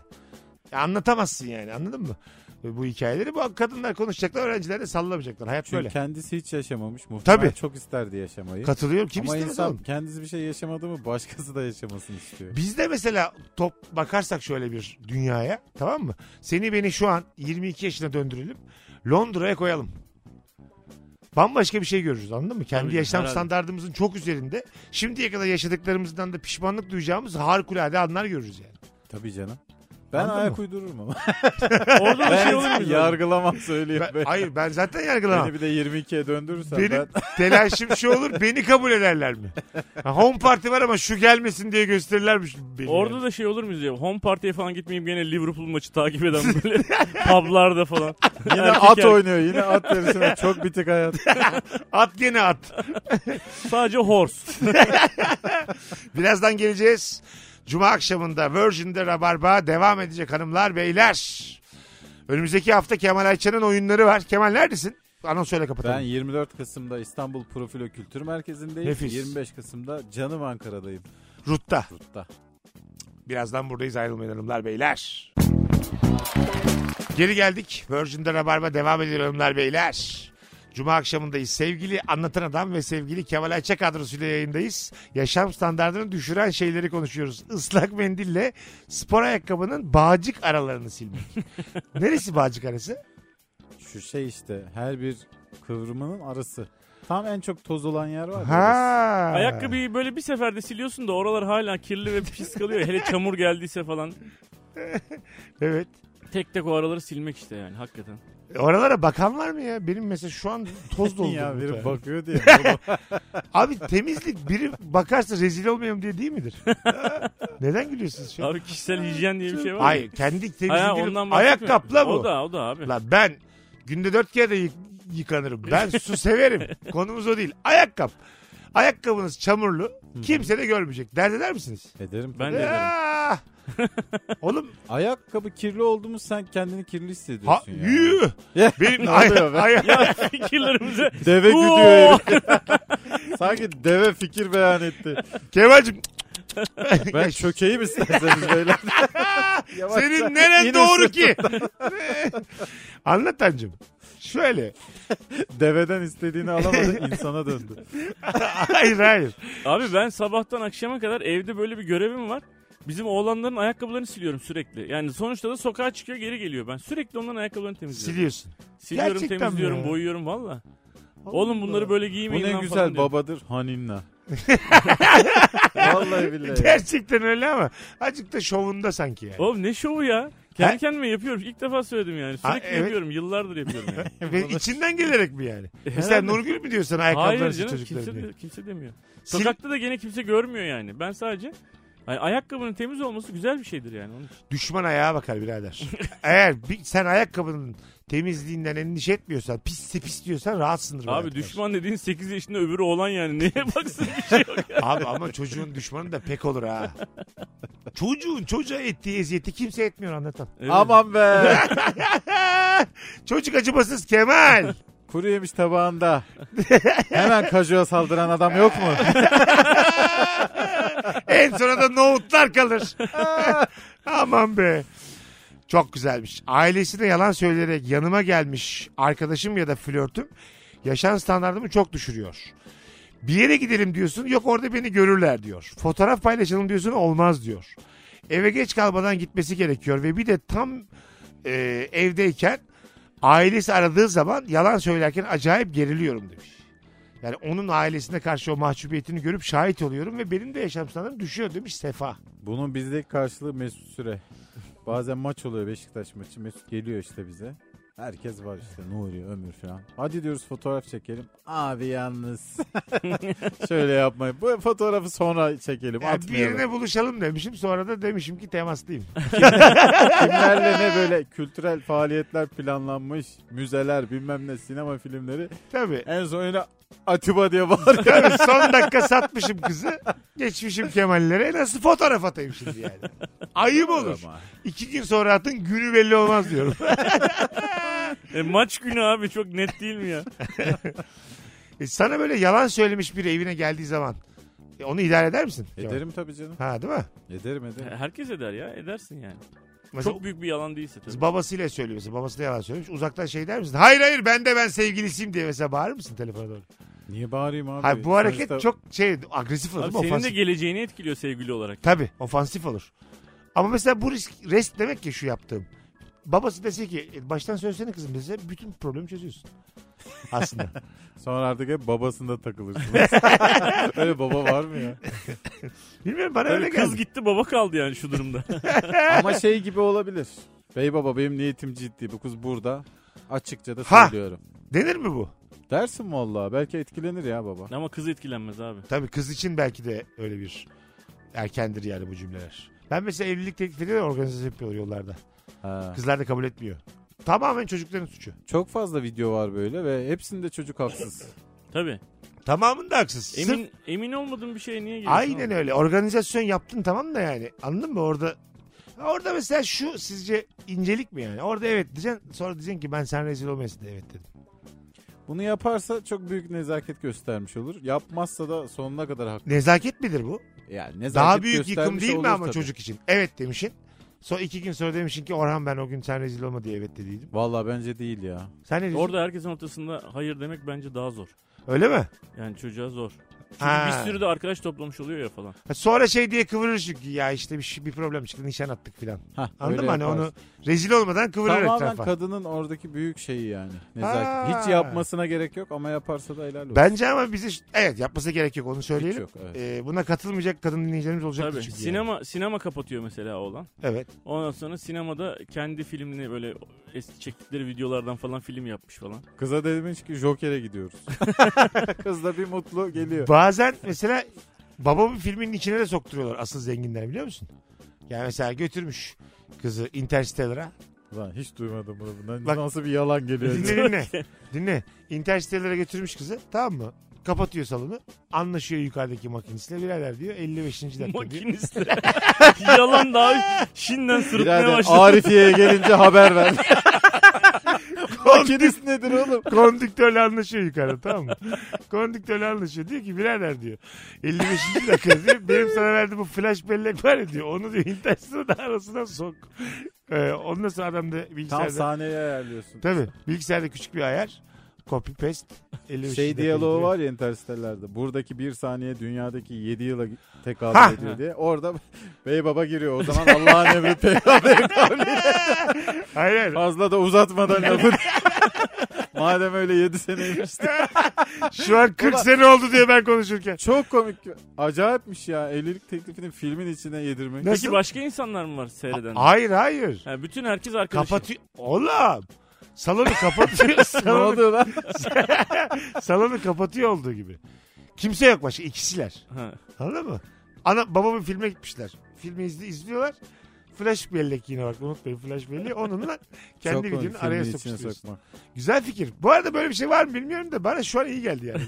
S2: Ya Anlatamazsın yani anladın mı? Bu hikayeleri bu kadınlar konuşacaklar öğrenciler de sallamayacaklar. Hayat
S3: Çünkü
S2: böyle.
S3: kendisi hiç yaşamamış. Muhtemelen
S2: Tabii.
S3: çok isterdi yaşamayı.
S2: Katılıyorum. Kim
S3: Ama
S2: istemez
S3: insan
S2: oğlum?
S3: kendisi bir şey yaşamadı mı başkası da yaşamasını istiyor.
S2: Bizde mesela top bakarsak şöyle bir dünyaya tamam mı? Seni beni şu an 22 yaşına döndürelim. Londra'ya koyalım. Bambaşka bir şey görürüz anladın mı? Kendi
S4: Tabii,
S2: yaşam
S4: herhalde.
S2: standartımızın çok üzerinde. Şimdiye kadar yaşadıklarımızdan da pişmanlık duyacağımız harikulade anlar görürüz yani.
S3: Tabii canım. Ben
S2: Anladın
S3: ayak uydururum ama.
S4: Orada bir şey olur
S3: ben
S4: mu?
S3: yargılamam söyleyeyim.
S2: Ben-
S3: Ben,
S2: hayır ben zaten yargılamam.
S3: Beni bir de 22'ye döndürürsen
S2: Benim
S3: ben
S2: telaşım şu olur beni kabul ederler mi? Ha, Home party var ama şu gelmesin diye gösterirlermiş beni.
S4: Orada da şey olur muyuz ya? Home party'ye falan gitmeyeyim gene Liverpool maçı takip eden böyle publarda falan.
S3: yine
S4: Erkek
S3: at
S4: erkek.
S3: oynuyor. Yine at derisine çok bitik hayat.
S2: At gene at.
S4: Sadece horse.
S2: Birazdan geleceğiz. Cuma akşamında Virgin'de Rabarba devam edecek hanımlar beyler. Önümüzdeki hafta Kemal Ayça'nın oyunları var. Kemal neredesin? Anons söyle kapatalım.
S3: Ben 24 Kasım'da İstanbul Profilo Kültür Merkezi'ndeyim.
S2: Nefis.
S3: 25 Kasım'da Canım Ankara'dayım.
S2: Rut'ta.
S3: Rut'ta.
S2: Birazdan buradayız ayrılmayın hanımlar beyler. Geri geldik. Virgin'de Rabarba devam ediyor hanımlar beyler. Cuma akşamındayız. Sevgili Anlatan Adam ve sevgili Kemal Ayça kadrosuyla yayındayız. Yaşam standartını düşüren şeyleri konuşuyoruz. Islak mendille spor ayakkabının bağcık aralarını silmek. Neresi bağcık arası?
S3: Şu şey işte her bir kıvrımının arası. Tam en çok toz olan yer var. ya, orası.
S2: Ha.
S4: Ayakkabıyı böyle bir seferde siliyorsun da oralar hala kirli ve pis kalıyor. Hele çamur geldiyse falan.
S2: Evet. E,
S4: Tek tek o araları silmek işte yani hakikaten.
S2: Oralara bakan var mı ya? Benim mesela şu an toz doldu.
S3: ya
S2: bu
S3: biri
S2: tarafa.
S3: bakıyor diye.
S2: Abi temizlik biri bakarsa rezil olmayayım diye değil midir? Neden gülüyorsunuz şu an?
S4: Abi kişisel hijyen diye bir şey var mı?
S2: Hayır kendi
S4: Ha,
S2: temizliğini
S4: ondan
S2: ayak
S4: bahsetmiyorum.
S2: kapla bu.
S4: O da o da abi.
S2: La ben günde dört kere de yık- yıkanırım. Ben su severim. Konumuz o değil. Ayakkabı. Ayakkabınız çamurlu. Kimse de görmeyecek. Dert eder misiniz?
S3: Ederim.
S4: Ben
S3: Ben
S4: de ederim.
S2: Aa! Oğlum
S3: Ayakkabı kirli oldu mu sen kendini kirli
S2: ha,
S3: hissediyorsun ya.
S2: yü.
S3: Ya,
S2: Benim
S3: ne
S2: ay-
S3: oluyor be?
S2: ay-
S4: Ya fikirlerimize
S3: Deve
S4: Oo!
S3: güdüyor herif. Sanki deve fikir beyan etti.
S2: Kemal'cim
S3: Ben çökeyim isterseniz beyler. Yavaşça
S2: senin neren
S3: yine
S2: doğru
S3: sırtım.
S2: ki? Anlat Tancım. Şöyle.
S3: Deveden istediğini alamadı insana döndü.
S2: hayır hayır.
S4: Abi ben sabahtan akşama kadar evde böyle bir görevim var. Bizim oğlanların ayakkabılarını siliyorum sürekli. Yani sonuçta da sokağa çıkıyor geri geliyor. Ben sürekli onların ayakkabılarını temizliyorum.
S2: Siliyorsun.
S4: Siliyorum
S2: Gerçekten mi
S4: temizliyorum
S2: ya?
S4: boyuyorum valla. Oğlum bunları böyle
S3: Bu
S4: giymeyin
S3: ne
S4: lan falan
S3: güzel
S4: diyorum.
S3: babadır Haninna. Vallahi billahi.
S2: Gerçekten öyle ama azıcık da şovunda sanki yani.
S4: Oğlum ne şovu ya.
S2: Ha?
S4: Kendi kendime yapıyorum. İlk defa söyledim yani. Sürekli
S2: Ha, evet.
S4: yapıyorum. Yıllardır yapıyorum yani.
S2: Ve içinden gelerek mi yani? Mesela
S4: Herhalde.
S2: Nurgül mü diyor sana
S4: Hayır
S2: ayakkabıları sil
S4: canım
S2: çocukları
S4: kimse,
S2: diye?
S4: de, kimse demiyor.
S2: Sil-
S4: Sokakta da gene kimse görmüyor yani. Ben sadece hani ayakkabının temiz olması güzel bir şeydir yani. Onun için.
S2: Düşman ayağa bakar birader. Eğer bir, sen ayakkabının temizliğinden endişe etmiyorsan, pisse pis diyorsan rahatsındır. bu
S4: Abi
S2: hayatta.
S4: düşman dediğin 8 yaşında öbürü olan yani. Neye baksın bir şey yok.
S2: Abi ama çocuğun düşmanı da pek olur ha. Çocuğun çocuğa ettiği eziyeti kimse etmiyor anlatan.
S4: Evet.
S3: Aman be.
S2: Çocuk acımasız Kemal.
S3: Kuru yemiş tabağında. Hemen kajuya saldıran adam yok mu?
S2: en sonunda nohutlar kalır. Aman be. Çok güzelmiş. Ailesine yalan söyleyerek yanıma gelmiş arkadaşım ya da flörtüm yaşam standartımı çok düşürüyor. Bir yere gidelim diyorsun yok orada beni görürler diyor. Fotoğraf paylaşalım diyorsun olmaz diyor. Eve geç kalmadan gitmesi gerekiyor ve bir de tam e, evdeyken ailesi aradığı zaman yalan söylerken acayip geriliyorum demiş. Yani onun ailesine karşı o mahcubiyetini görüp şahit oluyorum ve benim de yaşam standartım düşüyor demiş Sefa.
S3: Bunun bizdeki karşılığı Mesut Süre. Bazen maç oluyor Beşiktaş maçı. Mesut geliyor işte bize. Herkes var işte Nuri, Ömür falan. Hadi diyoruz fotoğraf çekelim. Abi yalnız. Şöyle yapmayın. Bu fotoğrafı sonra
S2: Yani
S3: çekelim.
S2: bir
S3: Atmayalım.
S2: yerine buluşalım demişim sonra da demişim ki temaslıyım.
S3: Kimlerle ne böyle kültürel faaliyetler planlanmış. Müzeler bilmem ne sinema filmleri.
S2: Tabii.
S3: En son öyle Atiba diye bağırıyor.
S2: Tabii son dakika satmışım kızı. Geçmişim Kemal'lere. Nasıl fotoğraf atayım şimdi yani? Ayıp olur.
S3: Ama.
S2: İki gün sonra atın günü belli olmaz diyorum.
S4: E, maç günü abi çok net değil mi ya?
S2: E, sana böyle yalan söylemiş biri evine geldiği zaman e, onu idare eder misin? Kemal?
S3: Ederim tabii canım.
S2: Ha değil mi?
S3: Ederim ederim.
S4: E, Herkes eder ya. Edersin yani.
S2: Mesela
S4: Çok büyük bir yalan değilse tabii.
S2: babasıyla söylüyor mesela. Babasıyla yalan söylemiş. Uzaktan şey der misin? Hayır hayır ben de ben sevgilisiyim diye mesela bağırır mısın telefona doğru?
S3: Niye bağırayım abi?
S2: Hayır bu hareket
S3: Sonuçta-
S2: çok şey agresif olur.
S4: Abi
S2: Abi,
S4: senin de
S2: ofansif.
S4: geleceğini etkiliyor sevgili olarak.
S2: Tabii ofansif olur. Ama mesela bu risk rest demek ki şu yaptığım. babası dese ki "E, baştan söylesene kızım dese bütün problemi çözüyorsun. Aslında.
S3: Sonra artık hep babasında takılırsın. Öyle baba var mı ya?
S2: Bilmiyorum bana öyle
S4: Tabii kız
S2: geldi.
S4: gitti baba kaldı yani şu durumda.
S3: Ama şey gibi olabilir. Bey baba benim niyetim ciddi. Bu kız burada. Açıkça da
S2: Ha!
S3: söylüyorum.
S2: Denir mi bu?
S3: Dersin vallahi belki etkilenir ya baba.
S4: Ama kız etkilenmez abi.
S2: Tabii kız için belki de öyle bir erkendir yani bu cümleler. Ben mesela evlilik teklifleri de organize yapıyorlar yollarda.
S3: Ha.
S2: Kızlar da kabul etmiyor. Tamamen çocukların suçu.
S3: Çok fazla video var böyle ve hepsinde çocuk haksız.
S4: Tabii.
S2: Tamamında haksız.
S4: Emin
S2: Sırf-
S4: emin olmadığın bir şeye niye giriyorsun?
S2: aynen
S4: abi?
S2: öyle. Organizasyon yaptın tamam da yani. Anladın mı orada? Orada mesela şu sizce incelik mi yani? Orada evet diyeceksin. Sonra diyeceksin ki ben sen rezil olmayasın diye evet dedim.
S3: Bunu yaparsa çok büyük nezaket göstermiş olur. Yapmazsa da sonuna kadar haklı.
S2: Nezaket midir bu?
S3: Yani nezaket
S2: Daha büyük
S3: göstermiş
S2: yıkım değil
S3: olur
S2: mi ama
S3: tabii.
S2: çocuk için? Evet demişin. Sonra iki gün sonra demişin ki Orhan ben o gün sen rezil olma diye evet dediydim.
S3: Vallahi bence değil ya.
S2: Sen ne diyorsun?
S4: Orada herkesin ortasında hayır demek bence daha zor.
S2: Öyle mi?
S4: Yani çocuğa zor. Çünkü
S2: Ha.
S4: bir sürü de arkadaş toplamış oluyor ya falan.
S2: Ha, Sonra şey diye kıvırır çünkü ya işte bir, şey- bir problem çıktı nişan attık filan.
S3: Hah,
S2: Anladın
S3: öyle
S2: mı? Hani
S3: yaparsın.
S2: onu rezil olmadan kıvırır
S3: Tamamen
S2: etrafa.
S3: kadının oradaki büyük şeyi yani. Nezaket.
S2: Ha.
S3: Hiç yapmasına gerek yok ama yaparsa da helal olsun.
S2: Bence ama bize ş- evet yapması gerek yok onu
S3: Hiç
S2: söyleyelim.
S3: yok. Evet.
S2: Ee, buna katılmayacak kadın dinleyicilerimiz olacak.
S4: Tabii. Sinema sinema kapatıyor mesela oğlan.
S2: Evet.
S4: Ondan sonra sinemada kendi filmini böyle eski çektikleri videolardan falan film yapmış falan.
S3: Kıza demiş ki Joker'e gidiyoruz. Kız da bir mutlu geliyor.
S2: Bazen mesela babamın filminin içine de sokturuyorlar asıl zenginler biliyor musun? Yani mesela götürmüş kızı Interstellar'a.
S3: Lan hiç duymadım bunu. Bundan
S2: Bak-
S3: nasıl bir yalan geliyor.
S2: Dinle dinle. dinle. Interstellar'a götürmüş kızı tamam mı? Kapatıyor salonu. Anlaşıyor yukarıdaki makinistle. Birader diyor 55. dakika diyor.
S4: Makinistler. Yalan da abi. Şimdiden sırıtmaya
S3: Birader
S4: başladı.
S3: Arifiye'ye gelince haber ver. Makinist nedir oğlum?
S2: Kondüktörle anlaşıyor yukarıda tamam mı? Kondüktörle anlaşıyor. Diyor ki birader diyor. 55. dakika diyor. Benim sana verdiğim bu flash bellek var ya diyor. Onu diyor Interstellar'ın arasına sok. Ee, ondan sonra adam da
S3: Tam
S2: bilgisayarda...
S3: sahneye ayarlıyorsun.
S2: Tabii bilgisayarda küçük bir ayar. Copy paste. 55.
S3: Şey
S2: dakika
S3: diyaloğu
S2: diyor.
S3: var ya Interstellar'da. Buradaki bir saniye dünyadaki 7 yıla
S2: Hah.
S3: tekabül ediyor diye. Orada bey baba giriyor. O zaman Allah'ın emri peygambere kabul ediyor.
S2: Aynen.
S3: Fazla da uzatmadan yapın. Madem öyle 7 seneymiş.
S2: Şu an 40 sene oldu diyor ben konuşurken.
S3: Çok komik. Acayipmiş ya evlilik teklifinin filmin içine yedirmek.
S2: Ne-
S4: Peki başka insanlar mı var seyreden?
S2: Hayır hayır.
S4: Ha, bütün herkes arkadaşı.
S2: Kapatıyor. Oğlum. Salonu kapatıyor.
S3: Ne
S2: salonu,
S3: oluyor lan?
S2: salonu kapatıyor olduğu gibi. Kimse yok başka. ikisiler.
S4: Ha.
S2: Anladın mı? Ana, babamın filme gitmişler. Filmi izli, izliyorlar. Flash bellek yine bak unutmayın flash belleği. Onunla
S3: Çok
S2: kendi
S3: komik,
S2: videonu
S3: filmin
S2: araya
S3: içine
S2: sokuşturuyorsun.
S3: sokmak.
S2: Güzel fikir. Bu arada böyle bir şey var mı bilmiyorum da bana şu an iyi geldi yani.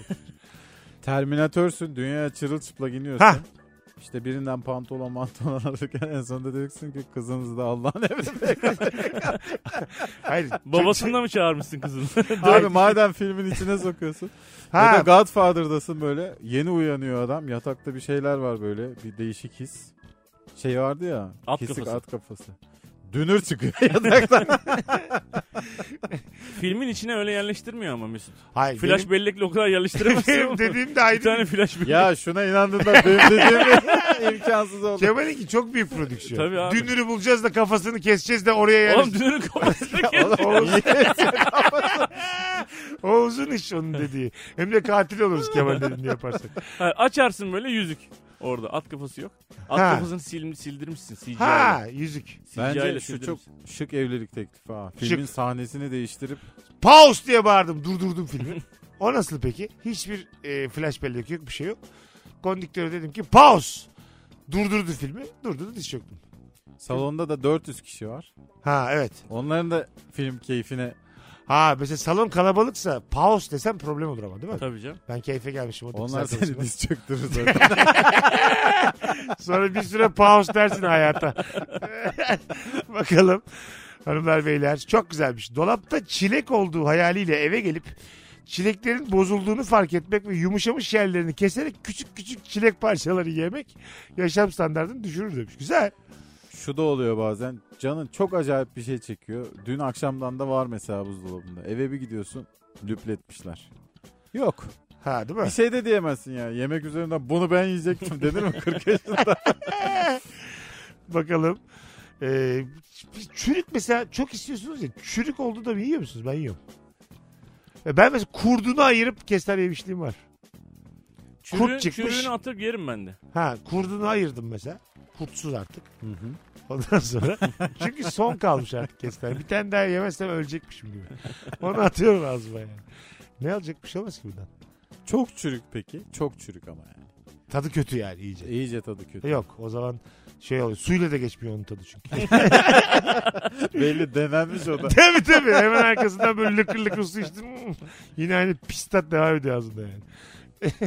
S3: Terminatörsün dünyaya çırılçıplak iniyorsun.
S2: Hah.
S3: İşte birinden pantolon mantolon alırken en sonunda diyeceksin ki kızınızı da Allah'ın emri.
S2: Hayır.
S4: Babasını da mı çağırmışsın kızını?
S3: Abi madem filmin içine sokuyorsun. Ya da
S2: Ha,
S3: Godfather'dasın böyle. Yeni uyanıyor adam. Yatakta bir şeyler var böyle. Bir değişik his. Şey vardı ya.
S4: At
S3: kesik
S4: kafası.
S3: at kafası. Dünür çıkıyor yataktan.
S4: Filmin içine öyle yerleştirmiyor ama Mesut.
S2: hayır.
S4: Flash
S2: benim,
S4: bellekle o kadar yerleştiremezsin ama.
S2: benim dediğim de
S4: Bir
S2: ayrı.
S4: tane flash bellek.
S3: ya şuna inandın da benim dediğim imkansız oldu.
S2: Kemal'inki çok büyük prodüksiyon.
S4: Tabii abi.
S2: Dünürü bulacağız da kafasını keseceğiz de oraya
S4: Oğlum
S2: yerleştireceğiz.
S4: dünürü kapatmak
S2: Oğlum, Oğuz,
S3: Niye?
S2: Oğuz'un iş onun dediği. Hem de katil oluruz Kemal dediğini yaparsak.
S4: Ha, açarsın böyle yüzük. Orada at kafası yok. At
S2: Ha.
S4: kafasını sil, sildirmişsin CGI.
S2: Ha yüzük.
S3: Bence şu çok şık evlilik teklifi ha. Filmin sahnesini değiştirip
S2: Pause diye bağırdım durdurdum filmi. O nasıl peki? Hiçbir e, flash bellek yok bir şey yok. Kondüktöre dedim ki pause. Durdurdu filmi. Durdurdu diz çöktüm.
S3: salonda da 400 kişi var.
S2: Ha evet.
S3: Onların da film keyfine
S2: Ha mesela salon kalabalıksa pause desem problem olur ama değil mi?
S4: Tabii canım.
S2: Ben keyfe gelmişim. o dokuz
S3: onlar
S2: arkadaşıma.
S3: seni diz çöktürür zaten.
S2: Sonra bir süre pause dersin hayata. Bakalım hanımlar beyler çok güzelmiş. Dolapta çilek olduğu hayaliyle eve gelip çileklerin bozulduğunu fark etmek ve yumuşamış yerlerini keserek küçük küçük çilek parçaları yemek yaşam standartını düşürür demiş. Güzel.
S3: şu da oluyor bazen. Canın çok acayip bir şey çekiyor. Dün akşamdan da var mesela buzdolabında. Eve bir gidiyorsun lüpletmişler. Yok.
S2: Ha değil mi?
S3: Bir şey de diyemezsin ya. Yemek üzerinden bunu ben yiyecektim denir mi 40 yaşında?
S2: Bakalım. Ee, çürük mesela çok istiyorsunuz ya. Çürük oldu da yiyor musunuz? Ben yiyorum. Ya Ben mesela kurdunu ayırıp kestane yemişliğim var.
S4: Çürüğü,
S2: Kurt çıkmış.
S4: Çürüğünü atıp yerim ben de.
S2: Ha kurdunu ayırdım mesela. Kurtsuz artık. Ondan sonra çünkü son kalmış artık kestane. Bir tane daha yemezsem ölecekmişim gibi. Onu atıyorum ağzıma yani. Ne alacak bir şey olmaz ki bundan.
S3: Çok çürük peki. Çok çürük ama yani.
S2: Tadı kötü yani iyice.
S3: İyice tadı kötü.
S2: Yok o zaman şey oluyor. Suyla da geçmiyor onun tadı çünkü.
S3: Belli denenmiş o da.
S2: tabii tabii. Hemen arkasından böyle lıkır lıkır su içtim. Hmm. Yine aynı pis tat devam ediyor ağzında yani.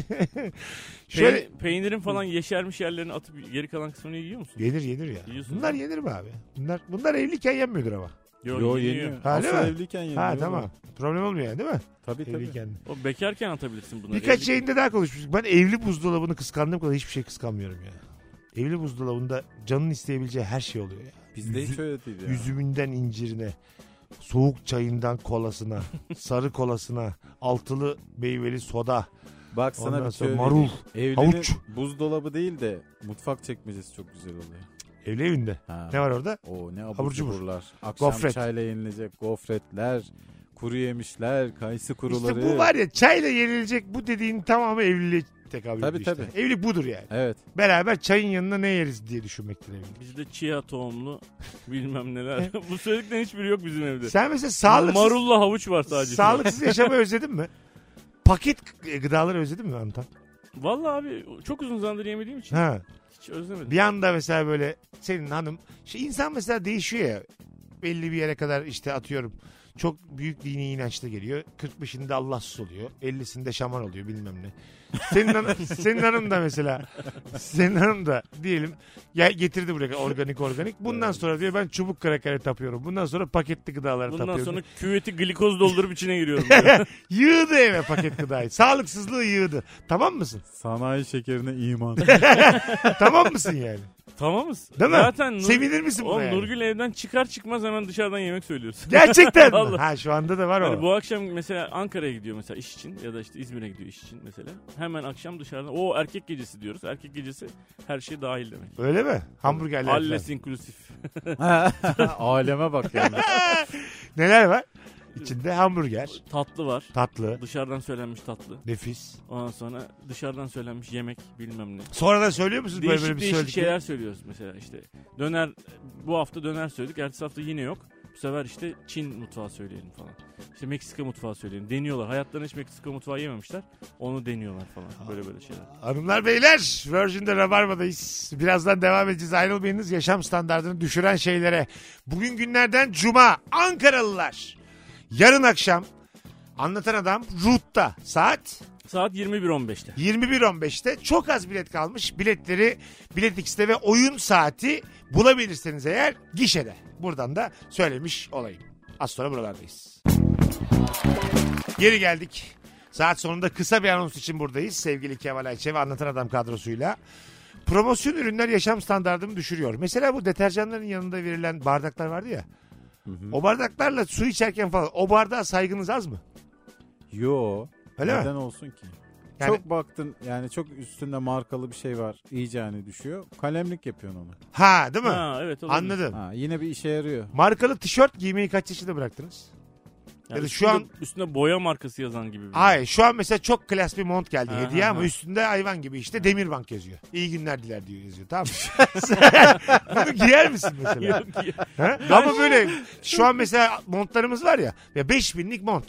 S2: Şöyle
S4: Peyn- peynirin falan yeşermiş yerlerini atıp geri kalan kısmını yiyor musun?
S2: yenir yenir ya.
S4: Yiyorsun.
S2: Bunlar yenir mi abi? Bunlar bunlar evliken yenmiyordur ama.
S3: Yo yeniyor.
S2: Ha,
S3: Asıl
S2: değil mi?
S3: evliyken yeniyor.
S2: Ha tamam. Problem olmuyor yani değil mi?
S3: Tabii tabii.
S2: Evliyken.
S4: O bekarken atabilirsin bunları.
S2: Birkaç şey-
S4: Evli-
S2: şeyinde daha konuşmuştuk. Ben evli buzdolabını kıskandığım kadar hiçbir şey kıskanmıyorum ya. Evli buzdolabında canın isteyebileceği her şey oluyor ya.
S3: Bizde hiç
S2: Yüzü-
S3: öyle değil ya.
S2: Üzümünden incirine, soğuk çayından kolasına, sarı kolasına, altılı meyveli soda.
S3: Bak sana
S2: Ondan
S3: bir şey
S2: sonra
S3: söyleyeyim.
S2: marul,
S3: Evlinin
S2: havuç.
S3: buzdolabı değil de mutfak çekmecesi çok güzel oluyor.
S2: Evli evinde.
S3: Ha.
S2: Ne var orada?
S3: O ne abur
S2: Abur cubur.
S3: cuburlar. Akşam
S2: Gofret.
S3: çayla yenilecek gofretler, kuru yemişler, kayısı kuruları.
S2: İşte bu var ya çayla yenilecek bu dediğin tamamı evliliğe tekabül ediyor
S3: Tabii,
S2: işte.
S3: tabii.
S2: Evlilik budur yani.
S3: Evet.
S2: Beraber çayın yanına ne yeriz diye düşünmektir evlilik.
S4: Bizde chia tohumlu bilmem neler. Bu söylediklerin hiçbiri yok bizim evde.
S2: Sen mesela sağlıksız,
S4: Marulla havuç var sadece.
S2: sağlıksız yaşamı özledin mi? Paket gıdaları özledin mi Antan?
S4: Vallahi abi çok uzun zamandır yemediğim için
S2: Ha.
S4: hiç özlemedim.
S2: Bir anda mesela böyle senin hanım şey insan mesela değişiyor ya belli bir yere kadar işte atıyorum çok büyük dini inançlı geliyor. 45'inde Allahsız oluyor. 50'sinde şaman oluyor bilmem ne. Senin hanım, senin hanım da mesela senin hanım da diyelim ya getirdi buraya kadar organik organik. Bundan sonra diyor ben çubuk krakere tapıyorum. Bundan sonra paketli gıdalara
S4: Bundan
S2: tapıyorum.
S4: sonra küveti glikoz doldurup içine giriyorum.
S2: Yığdı eve paket gıdayı. Sağlıksızlığı yığdı. Tamam mısın?
S3: Sanayi şekerine iman.
S2: tamam mısın yani?
S4: tamam mısın?
S2: Değil mi?
S4: Zaten Nur-
S2: Sevinir misin buna
S4: Oğlum
S2: yani?
S4: Nurgül evden çıkar çıkmaz hemen dışarıdan yemek söylüyorsun.
S2: Gerçekten mi?
S4: Vallahi.
S2: Ha şu anda da var o.
S4: Hani bu akşam mesela Ankara'ya gidiyor mesela iş için ya da işte İzmir'e gidiyor iş için mesela. Hemen akşam dışarıdan o erkek gecesi diyoruz. Erkek gecesi her şey dahil demek.
S2: Öyle mi? Hamburgerler falan.
S4: Alles inklusif.
S3: Aleme bak yani.
S2: Neler var? İçinde hamburger,
S4: Tatlı var.
S2: tatlı,
S4: Dışarıdan söylenmiş tatlı.
S2: nefis.
S4: Ondan sonra dışarıdan söylenmiş yemek bilmem ne.
S2: Sonradan söylüyor musunuz
S4: Değişik
S2: böyle böyle bir
S4: değişik
S2: söyledik?
S4: şeyler söylüyoruz mesela işte. Döner bu hafta döner söyledik. Ertesi hafta yine yok. Bu sefer işte Çin mutfağı söyleyelim falan. İşte Meksika mutfağı söyleyelim. Deniyorlar. Hayatlarında hiç Meksika mutfağı yememişler. Onu deniyorlar falan. Böyle böyle şeyler.
S2: Hanımlar beyler Virgin'de Rabarba'dayız. Birazdan devam edeceğiz. Ayrılmayınız. Yaşam standartını düşüren şeylere. Bugün günlerden Cuma. Ankaralılar. Yarın akşam Anlatan Adam Root'ta saat
S4: Saat 21.15'te.
S2: 21.15'te çok az bilet kalmış. Biletleri Bilet X'te ve oyun saati bulabilirseniz eğer gişede. Buradan da söylemiş olayım. Az sonra buralardayız. Geri geldik. Saat sonunda kısa bir anons için buradayız. Sevgili Kemal Ayçe ve Anlatan Adam kadrosuyla. Promosyon ürünler yaşam standartımı düşürüyor. Mesela bu deterjanların yanında verilen bardaklar vardı ya. O bardaklarla su içerken falan o bardağa saygınız az mı?
S3: Yo.
S2: Öyle mi?
S3: neden olsun ki?
S2: Yani-
S3: Çok baktın yani çok üstünde markalı bir şey var. İyice hani düşüyor. Kalemlik yapıyorsun onu.
S2: Ha değil mi?
S4: Ha evet olabilir.
S2: Anladım.
S3: Ha, yine bir işe yarıyor.
S2: Markalı tişört giymeyi kaç yaşında bıraktınız?
S4: Yani
S2: Ya da şu
S4: üstünde,
S2: an-
S4: üstüne boya markası yazan gibi. bir- şey.
S2: Hayır şu an mesela çok klas bir mont geldi
S4: Aha,
S2: hediye ama
S4: aha.
S2: üstünde hayvan gibi işte Demirbank yazıyor. İyi günler diler diyor yazıyor tamam mı? Bunu giyer misin mesela?
S4: Yok şey- ki.
S2: Ha? Ama böyle şu an mesela montlarımız var ya ya 5000'lik mont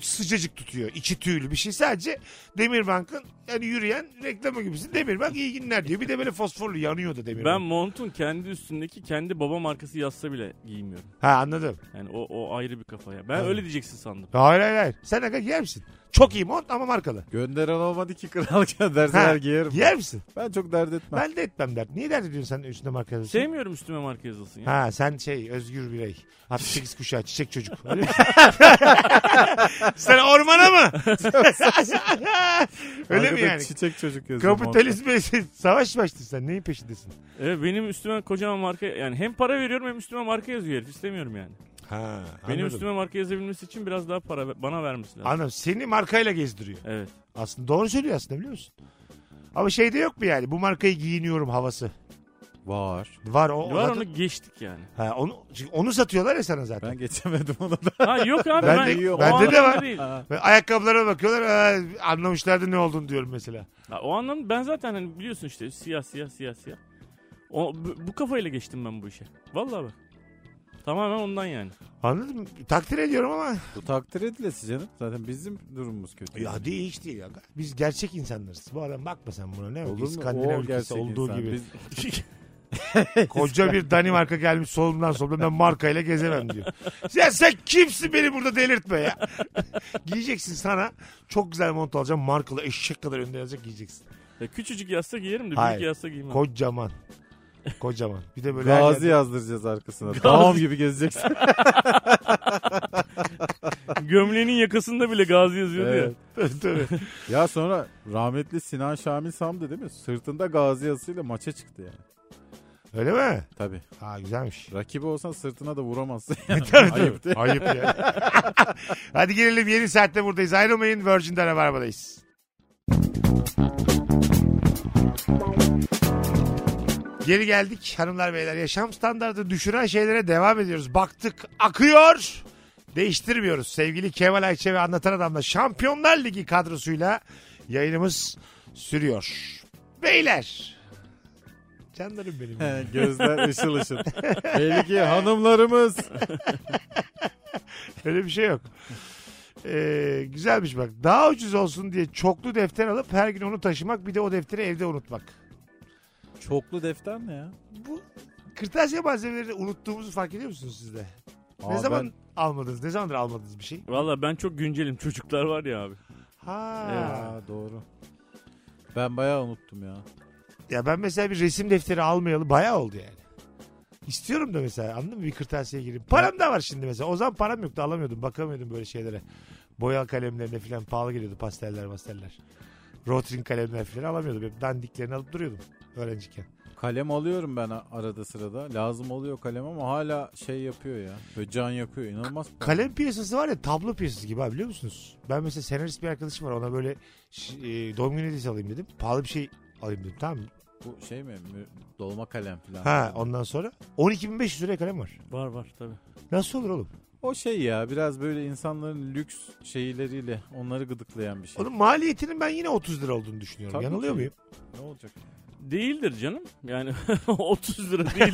S2: sıcacık tutuyor. içi tüylü bir şey sadece Demirbank'ın yani yürüyen reklamı gibisin. Demirbank iyi günler diyor. Bir de böyle fosforlu yanıyor da
S4: ben
S2: Demirbank.
S4: montun kendi üstündeki kendi baba markası yazsa bile giymiyorum.
S2: Ha anladım.
S4: Yani o, o ayrı bir kafaya. Ben
S2: Anladım.
S4: öyle diyeceksin sandım.
S2: Hayır hayır hayır. Sen aga giyer misin? Çok iyi mont ama markalı.
S3: Gönderen olmadı ki kral
S2: Ha,
S3: derseler giyerim.
S2: Giyer misin?
S3: Ben çok dert etmem.
S2: Ben de etmem dert. Niye dert ediyorsun sen üstünde marka yazıyorsun?
S4: Sevmiyorum üstüme marka yazılsın ya.
S2: Ha sen şey özgür birey. 68 kuşağı çiçek çocuk. Öyle mi? sen ormana mı? Öyle mi
S3: Arkada
S2: yani?
S3: Çiçek çocuk yazıyor.
S2: Kapitalizme savaş başladın sen. Neyin peşindesin?
S4: Evet E, benim üstüme kocaman marka yani hem para veriyorum hem üstüme marka yazıyor herif istemiyorum yani.
S2: Ha,
S4: Benim üstüme marka yazabilmesi için biraz daha para ve- bana vermesi lazım.
S2: Anladım. Seni markayla gezdiriyor.
S4: evet.
S2: şey Aslında doğru söylüyor aslında biliyor musun? Ama şeyde yok mu yani? Bu markayı giyiniyorum havası.
S3: Var.
S2: Var o.
S4: Var
S2: zaten-
S4: onu geçtik yani.
S2: Ha, onu, çünkü onu satıyorlar ya sana zaten.
S3: Ben geçemedim ona da.
S4: Ha yok abi
S2: Ben
S4: ben,
S2: de-
S4: o
S2: bende de
S4: anlamda
S2: var.
S4: Değil.
S3: Ha.
S2: Ve ayakkabılara bakıyorlar. "Ha, anlamışlardı ne olduğunu diyorum mesela.
S4: Ha, o anlamda ben zaten hani biliyorsun işte siyah siyah siyah siyah. O, bu, bu kafayla geçtim ben bu işe. Vallahi bak. Tamamen ondan yani.
S2: Anladın mı? Takdir ediyorum ama.
S3: Bu takdir edilesi canım. Zaten bizim durumumuz kötü.
S2: Ya değil hiç değil. Ya. Biz gerçek insanlarız. Bu adam bakma sen buna ne?
S3: Olur mu?
S2: İskandinav
S3: O
S2: ülkesi
S3: gerçek
S2: olduğu
S3: insan.
S2: gibi.
S3: Biz-
S2: Koca bir Danimarka gelmiş solumdan solumdan ben markayla gezemem diyor. Ya sen kimsin beni burada delirtme ya. giyeceksin sana. Çok güzel mont alacağım. Markalı eşek kadar önde yazacak giyeceksin.
S4: Ya E, küçücük yastık giyerim de
S2: Hayır.
S4: büyük yastık giymem.
S2: Kocaman. Kocaman. Bir de böyle her
S3: Gazi
S2: yerde-
S3: yazdıracağız arkasına. Tamam gibi gezeceksin.
S4: Gömleğinin yakasında bile gazi yazıyordu
S3: Evet.
S2: Tabii, tabii.
S3: Ya sonra rahmetli Sinan Şamil Sam'dı değil mi? Sırtında gazi yazısıyla maça çıktı yani.
S2: Öyle mi?
S3: Tabii.
S2: Ha güzelmiş.
S3: Rakibi olsan sırtına da vuramazsın.
S2: Tabii, tabii.
S3: Ayıp değil.
S2: Ayıp ya. Hadi gelelim yeni saatte buradayız. Ayrılmayın Virgin'de Rabarba'dayız. Geri geldik hanımlar beyler. Yaşam standartı düşüren şeylere devam ediyoruz. Baktık akıyor. Değiştirmiyoruz. Sevgili Kemal Ayçe ve Anlatan Adam'la Şampiyonlar Ligi kadrosuyla yayınımız sürüyor. Beyler. Canlarım benim. ya.
S3: ya. Gözler ışıl ışıl. Belki hanımlarımız.
S2: Öyle bir şey yok. Ee, güzelmiş bak. Daha ucuz olsun diye çoklu defter alıp her gün onu taşımak bir de o defteri evde unutmak.
S3: Çoklu defter ne ya?
S2: Bu kırtasiye malzemelerini unuttuğumuzu fark ediyor musunuz siz de? ne zaman almadınız? Ne zamandır almadınız bir şey?
S4: Valla ben çok güncelim. Çocuklar var ya abi.
S2: Ha.
S3: Ben... Aa, doğru. Ben bayağı unuttum ya.
S2: Ya ben mesela bir resim defteri almayalı bayağı oldu yani. İstiyorum da mesela anladın mı? Bir kırtasiye gireyim. Param da var şimdi mesela. O zaman param yoktu alamıyordum. Bakamıyordum böyle şeylere. Boya kalemlerine falan pahalı geliyordu pasteller pasteller. Rotring kalemler falan alamıyordum. Hep dandiklerini alıp duruyordum öğrenciyken.
S3: Kalem alıyorum ben a- arada sırada. Lazım oluyor kalem ama hala şey yapıyor ya. Böyle can yakıyor. İnanılmaz.
S2: Kalem piyasası var ya tablo piyasası gibi abi biliyor musunuz? Ben mesela senarist bir arkadaşım var ona böyle ş- e, doğum günü hediyesi alayım dedim. Pahalı bir şey alayım dedim tamam mı?
S3: Bu şey mi? Mü- Dolma kalem falan.
S2: Ha ondan sonra 12.500 liraya kalem var.
S4: Var var tabii.
S2: Nasıl olur oğlum?
S3: O şey ya biraz böyle insanların lüks şeyleriyle onları gıdıklayan bir şey.
S2: Onun maliyetinin ben yine 30 lira olduğunu düşünüyorum.
S3: Tabii
S2: Yanılıyor
S3: ki.
S2: muyum?
S3: Ne olacak?
S4: Değildir canım. Yani 30 lira değil.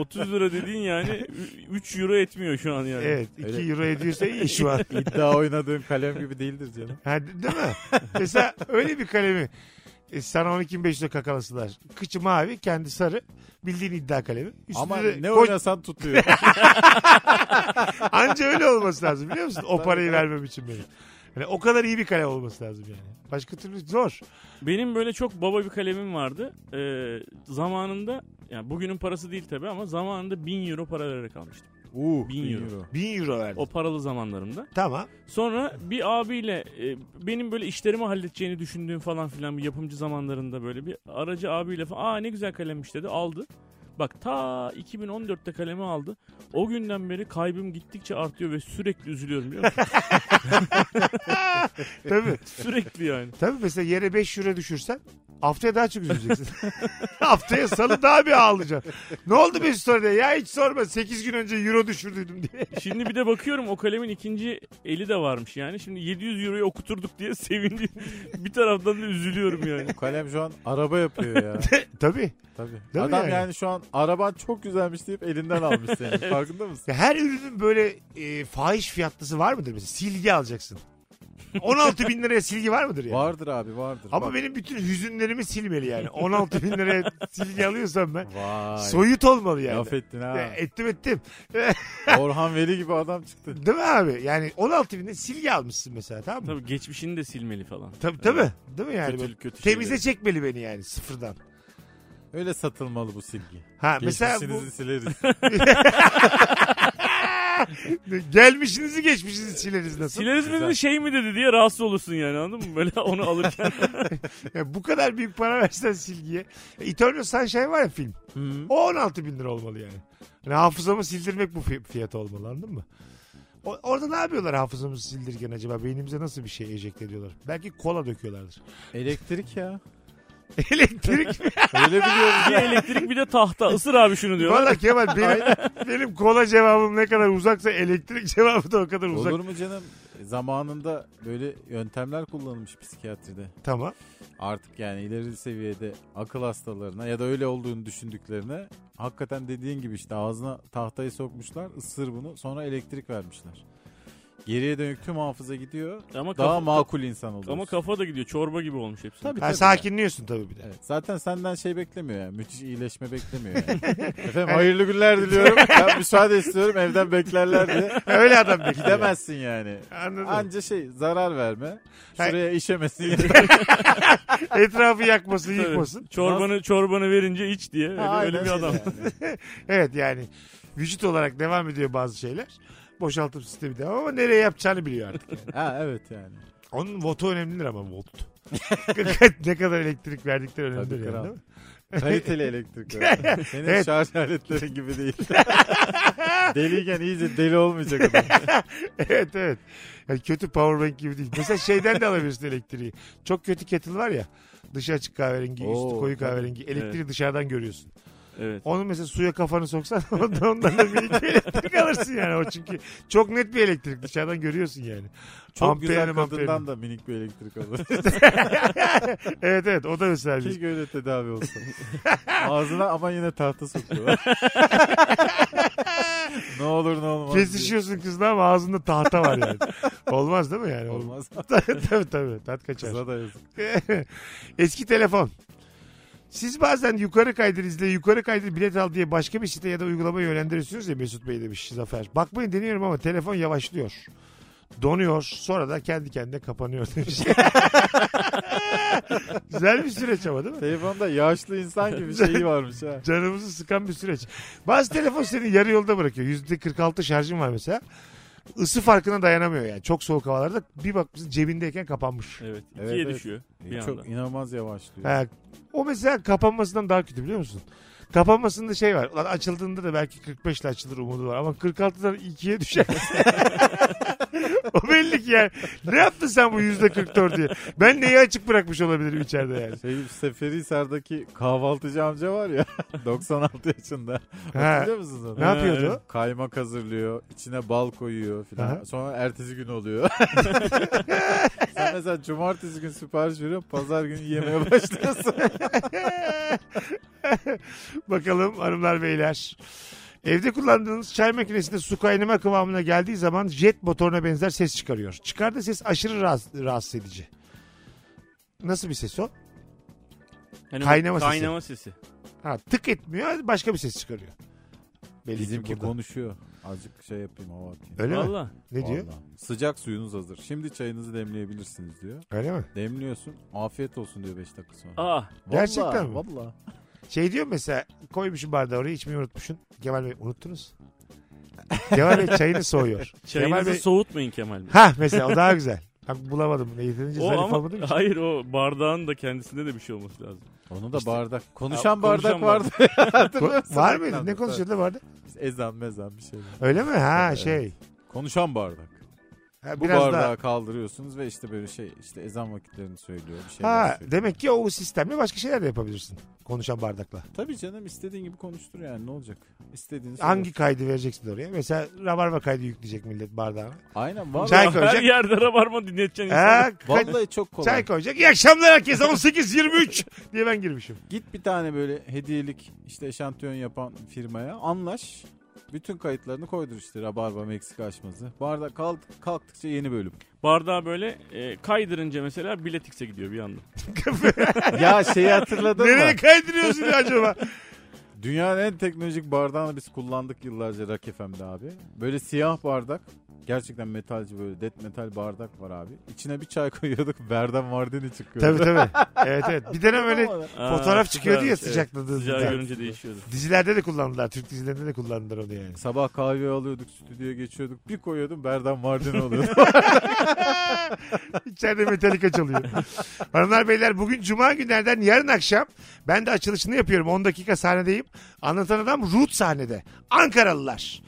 S4: 30 lira dediğin yani 3 euro etmiyor şu an yani.
S2: Evet 2
S3: Öyle.
S2: euro ediyorsa iyi şu an.
S3: İddia oynadığın kalem gibi değildir canım.
S2: Ha, de- değil mi? Mesela öyle bir kalemi e, sana 12.500 lira kakalasılar. Kıçı mavi kendi sarı bildiğin iddia kalemi. Üstünde
S3: Ama
S2: de
S3: ne
S2: koç-
S3: oynasan tutuyor.
S2: Anca öyle olması lazım biliyor musun? O parayı vermem için benim. Yani o kadar iyi bir kalem olması lazım yani. Başka türlü zor.
S4: Benim böyle çok baba bir kalemim vardı. Ee, zamanında yani bugünün parası değil tabii ama zamanında 1000 euro para vererek almıştım.
S3: Uuu.
S4: Bin euro.
S2: 1000 euro verdim.
S4: O paralı zamanlarımda.
S2: Tamam.
S4: Sonra bir abiyle e, benim böyle işlerimi halledeceğini düşündüğüm falan filan bir yapımcı zamanlarında böyle bir aracı abiyle falan aa ne güzel kalemmiş dedi aldı. Bak ta 2014'te kalemi aldı. O günden beri kaybım gittikçe artıyor ve sürekli üzülüyorum biliyor musun?
S2: Tabii.
S4: sürekli yani.
S2: Tabii mesela yere 5 euro düşürsen haftaya daha çok üzüleceksin. haftaya salı daha bir ağlayacaksın. Ne oldu bir soruda? Ya hiç sorma 8 gün önce euro düşürdüydüm diye.
S4: Şimdi bir de bakıyorum o kalemin ikinci eli de varmış yani. Şimdi 700 euroya okuturduk diye sevindim. bir taraftan da üzülüyorum yani.
S3: Bu kalem şu an araba yapıyor ya.
S2: Tabii.
S3: Tabii.
S2: mi
S3: Adam
S2: yani?
S3: yani? şu an araban çok güzelmiş deyip elinden almış seni. Farkında mısın?
S2: Ya her ürünün böyle e, fahiş fiyatlısı var mıdır? Mesela silgi alacaksın. 16 bin liraya silgi var mıdır yani?
S3: Vardır abi vardır.
S2: Ama
S3: Bak.
S2: benim bütün hüzünlerimi silmeli yani. 16 bin liraya silgi alıyorsam ben.
S3: Vay.
S2: Soyut olmalı yani.
S3: Laf ettin ha.
S2: Ya, e- Ettim ettim.
S3: Orhan Veli gibi adam çıktı.
S2: Değil mi abi? Yani 16 binde silgi almışsın mesela tamam mı?
S4: Tabii geçmişini de silmeli falan.
S2: Tabii tabii. Değil mi yani?
S4: Kötü,
S2: Böyle
S4: kötü
S2: Temize
S4: şeyleri.
S2: çekmeli beni yani sıfırdan.
S3: Öyle satılmalı bu silgi.
S2: Ha mesela bu
S3: Geçmişinizi sileriz.
S2: gelmişinizi geçmişinizi sileriz nasıl?
S4: Sileriz mi dedi, şey mi dedi diye rahatsız olursun yani anladın mı? Böyle onu alırken.
S2: Ya bu kadar büyük para versen silgiye. E, Eternal Sunshine var ya film.
S3: Hı.
S2: O 16 bin lira olmalı yani. yani hafızamı sildirmek bu fi- fiyat olmalı anladın mı? O- orada ne yapıyorlar hafızamızı sildirken acaba? Beynimize nasıl bir şey ejekte ediyorlar? Belki kola döküyorlardır.
S3: Elektrik ya.
S2: Elektrik mi?
S3: Öyle biliyoruz
S4: Bir
S3: ya.
S4: elektrik bir de tahta. Isır abi şunu diyorlar.
S2: Valla Kemal benim, benim kola cevabım ne kadar uzaksa elektrik cevabı da o kadar uzak.
S3: Olur mu canım? Zamanında böyle yöntemler kullanılmış psikiyatride.
S2: Tamam.
S3: Artık yani ileri seviyede akıl hastalarına ya da öyle olduğunu düşündüklerine hakikaten dediğin gibi işte ağzına tahtayı sokmuşlar, ısır bunu, sonra elektrik vermişler. Geriye dönük tüm hafıza gidiyor.
S4: Ama
S3: Daha
S4: kafa-
S3: makul insan oluyorsun.
S4: Ama kafa da gidiyor. Çorba gibi olmuş hepsi.
S3: Tabii,
S2: Ha,
S3: tabii
S2: sakinliyorsun tabii bir de.
S3: yani. Evet, zaten senden şey beklemiyor yani. Müthiş iyileşme beklemiyor yani. Efendim hayırlı günler diliyorum. Ben müsaade istiyorum evden beklerler diye.
S2: Öyle adam bekliyor.
S3: Gidemezsin yani.
S2: Anladım.
S3: Anca şey zarar verme.
S2: Hayır.
S3: Şuraya işemesin.
S2: Etrafı yakmasın,
S4: Tabii.
S2: yıkmasın.
S4: Çorbanı çorbanı verince iç diye. Öyle, öyle bir adam.
S2: Evet yani vücut olarak devam ediyor bazı şeyler. Boşaltım sistemi devam ama nereye yapacağını biliyor artık.
S3: Ha evet yani.
S2: Onun votu önemlidir ama volt. ne kadar elektrik verdikleri önemlidir
S3: Tabii
S2: yani,
S3: kral.
S2: değil mi?
S3: Kaliteli elektrik. var. Senin
S2: Evet.
S3: şarj aletleri gibi değil. Deliyken iyice deli olmayacak adam.
S2: evet evet. Yani kötü powerbank gibi değil. Mesela şeyden de alabilirsin elektriği. Çok kötü kettle var ya. Dışı açık kahverengi, üstü
S3: Oo,
S2: koyu
S3: tabii.
S2: kahverengi. Elektriği dışarıdan görüyorsun.
S4: Evet.
S2: Onu mesela suya kafanı soksan ondan, ondan da bir iki elektrik alırsın yani. O çünkü çok net bir elektrik dışarıdan görüyorsun yani.
S3: Çok
S2: Amperini,
S3: güzel
S2: mamperini.
S3: kadından da minik bir elektrik alır.
S2: Evet evet o da mesela bir
S3: Keşke öyle tedavi olsa. Ağzına ama yine tahta sokuyorlar. ne olur ne olmaz. diye.
S2: Kesişiyorsun kızla ama ağzında tahta var yani. Olmaz değil mi yani?
S3: Olmaz.
S2: tabii tabii. Tat kaçar.
S3: Kıza da yazık.
S2: Eski telefon. Siz bazen yukarı kaydır izle, yukarı kaydır bilet al diye başka bir site ya da uygulama yönlendiriyorsunuz ya Mesut Bey demiş Zafer. Bakmayın deniyorum ama telefon yavaşlıyor. Donuyor sonra da kendi kendine kapanıyor demiş. Güzel bir süreç ama değil mi?
S3: Telefonda yaşlı insan gibi şeyi varmış ha.
S2: Canımızı sıkan bir süreç. Bazı telefon seni yarı yolda bırakıyor. Yüzde 46 şarjın var mesela. Isı farkına dayanamıyor yani. Çok soğuk havalarda bir bakmışsın cebindeyken kapanmış.
S4: Evet. İkiye
S3: Evet, evet.
S4: düşüyor. Bir
S3: Çok
S4: anda.
S3: inanılmaz yavaşlıyor.
S2: Ha, o mesela kapanmasından daha kötü biliyor musun? Kapanmasında şey var. Lan açıldığında da belki 45 ile açılır umudu var ama 46'dan 2'ye düşer. o belli ki yani. Ne yaptın sen bu yüzde 44 diye? Ben neyi açık bırakmış olabilirim içeride yani?
S3: Şey Seferihisar'daki kahvaltıcı amca var ya 96 yaşında.
S2: Ha,
S3: Hatırlıyor musunuz onu?
S2: ne yapıyordu?
S3: Evet. Kaymak hazırlıyor, içine bal koyuyor
S2: Aha.
S3: filan. Sonra ertesi gün oluyor. Sen mesela cumartesi gün sipariş veriyorsun, pazar günü yemeye başlıyorsun.
S2: Bakalım hanımlar beyler. Evde kullandığınız çay makinesinde su kaynama kıvamına geldiği zaman jet motoruna benzer ses çıkarıyor. Çıkardığı ses aşırı rahatsız, rahatsız edici. Nasıl bir ses o?
S4: Hani
S2: Kaynama sesi.
S4: Kaynama sesi.
S2: Ha, tık etmiyor başka bir ses çıkarıyor. Belli ki
S3: Bizimki
S2: burada.
S3: konuşuyor. Azıcık şey yapayım hava atayım.
S2: Öyle mi?
S4: Valla.
S2: Ne diyor?
S3: Vallahi. Sıcak suyunuz hazır. Şimdi çayınızı demleyebilirsiniz diyor.
S2: Öyle mi?
S3: Demliyorsun. Afiyet olsun diyor 5 dakika sonra.
S4: Aa.
S2: Gerçekten mi?
S3: Valla.
S2: Şey diyor mesela koymuşum bardağı oraya içmeyi unutmuşsun. Kemal Bey unuttunuz. Kemal Bey çayını soğuyor. Kemal
S4: Çayınızı
S2: Bey...
S4: soğutmayın Kemal Bey.
S2: ha mesela o daha güzel. Bak bulamadım. Ne yedirince
S4: O
S2: şey zarif
S4: ama
S2: olmadım ki.
S4: hayır o bardağın da kendisinde de bir şey olması lazım.
S3: Onu da
S2: İşte-
S3: bardak.
S4: Ya,
S3: Konuşan bardak
S4: konuşan
S3: vardı. Hatırlıyor musun?
S2: Var mıydı? Ne konuşuyordu vardı?
S3: Ezan mezan bir şey.
S2: Öyle mi? Ha
S3: Evet.
S2: şey.
S3: Konuşan bardak.
S2: Ha,
S3: Bu
S2: biraz
S3: bardağı
S2: daha.
S3: kaldırıyorsunuz ve işte böyle şey işte ezan vakitlerini söylüyor bir şeyler
S2: Ha
S3: söylüyor.
S2: demek ki o sistemle başka şeyler de yapabilirsin. Konuşan bardakla.
S3: Tabii canım istediğin gibi konuştur yani ne olacak? İstediğini söyle.
S2: Hangi kaydı vereceksin oraya? Mesela rabarba kaydı yükleyecek millet bardağına.
S3: Aynen vallahi.
S2: Çay
S4: Her
S2: koyacak.
S4: yerde rabarma dinleteceksin
S2: Ha,
S4: insanı.
S2: kay-
S3: Vallahi çok kolay.
S2: Çay koyacak. İyi akşamlar herkese 18.23 diye ben girmişim.
S3: Git bir tane böyle hediyelik işte eşantiyon yapan firmaya anlaş. Bütün kayıtlarını koydur işte Rabarba Meksika açması. Bardak kalk, kalktıkça yeni bölüm.
S4: Bardağı böyle e, kaydırınca mesela biletix'e gidiyor bir anda.
S3: ya şeyi hatırladın mı?
S2: Nereye kaydırıyorsun ya acaba?
S3: Dünyanın en teknolojik bardağını biz kullandık yıllarca Rock FM'de abi. Böyle siyah bardak. Gerçekten metalci böyle dead metal bardak var abi. İçine bir çay koyuyorduk. Verden Mardin'i
S2: tabii
S3: çıkıyordu.
S2: tabii. Evet evet. Bir dönem öyle
S4: Aa,
S2: Fotoğraf çıkıyordu ya
S4: süpermiş,
S2: sıcakladığında.
S4: Ah, Evet. Sıcağı görünce değişiyordu.
S2: dizilerde de kullandılar. Türk dizilerinde de kullandılar onu yani.
S3: Sabah kahve alıyorduk, stüdyoya geçiyorduk. Bir koyuyordum Berdan Mardin oluyordu.
S2: İçeride metalik açılıyor. Hanımlar beyler bugün cuma günlerden yarın akşam ben de açılışını yapıyorum. 10 dakika sahnedeyim. Anlatan adam Root sahnede. Ankaralılar.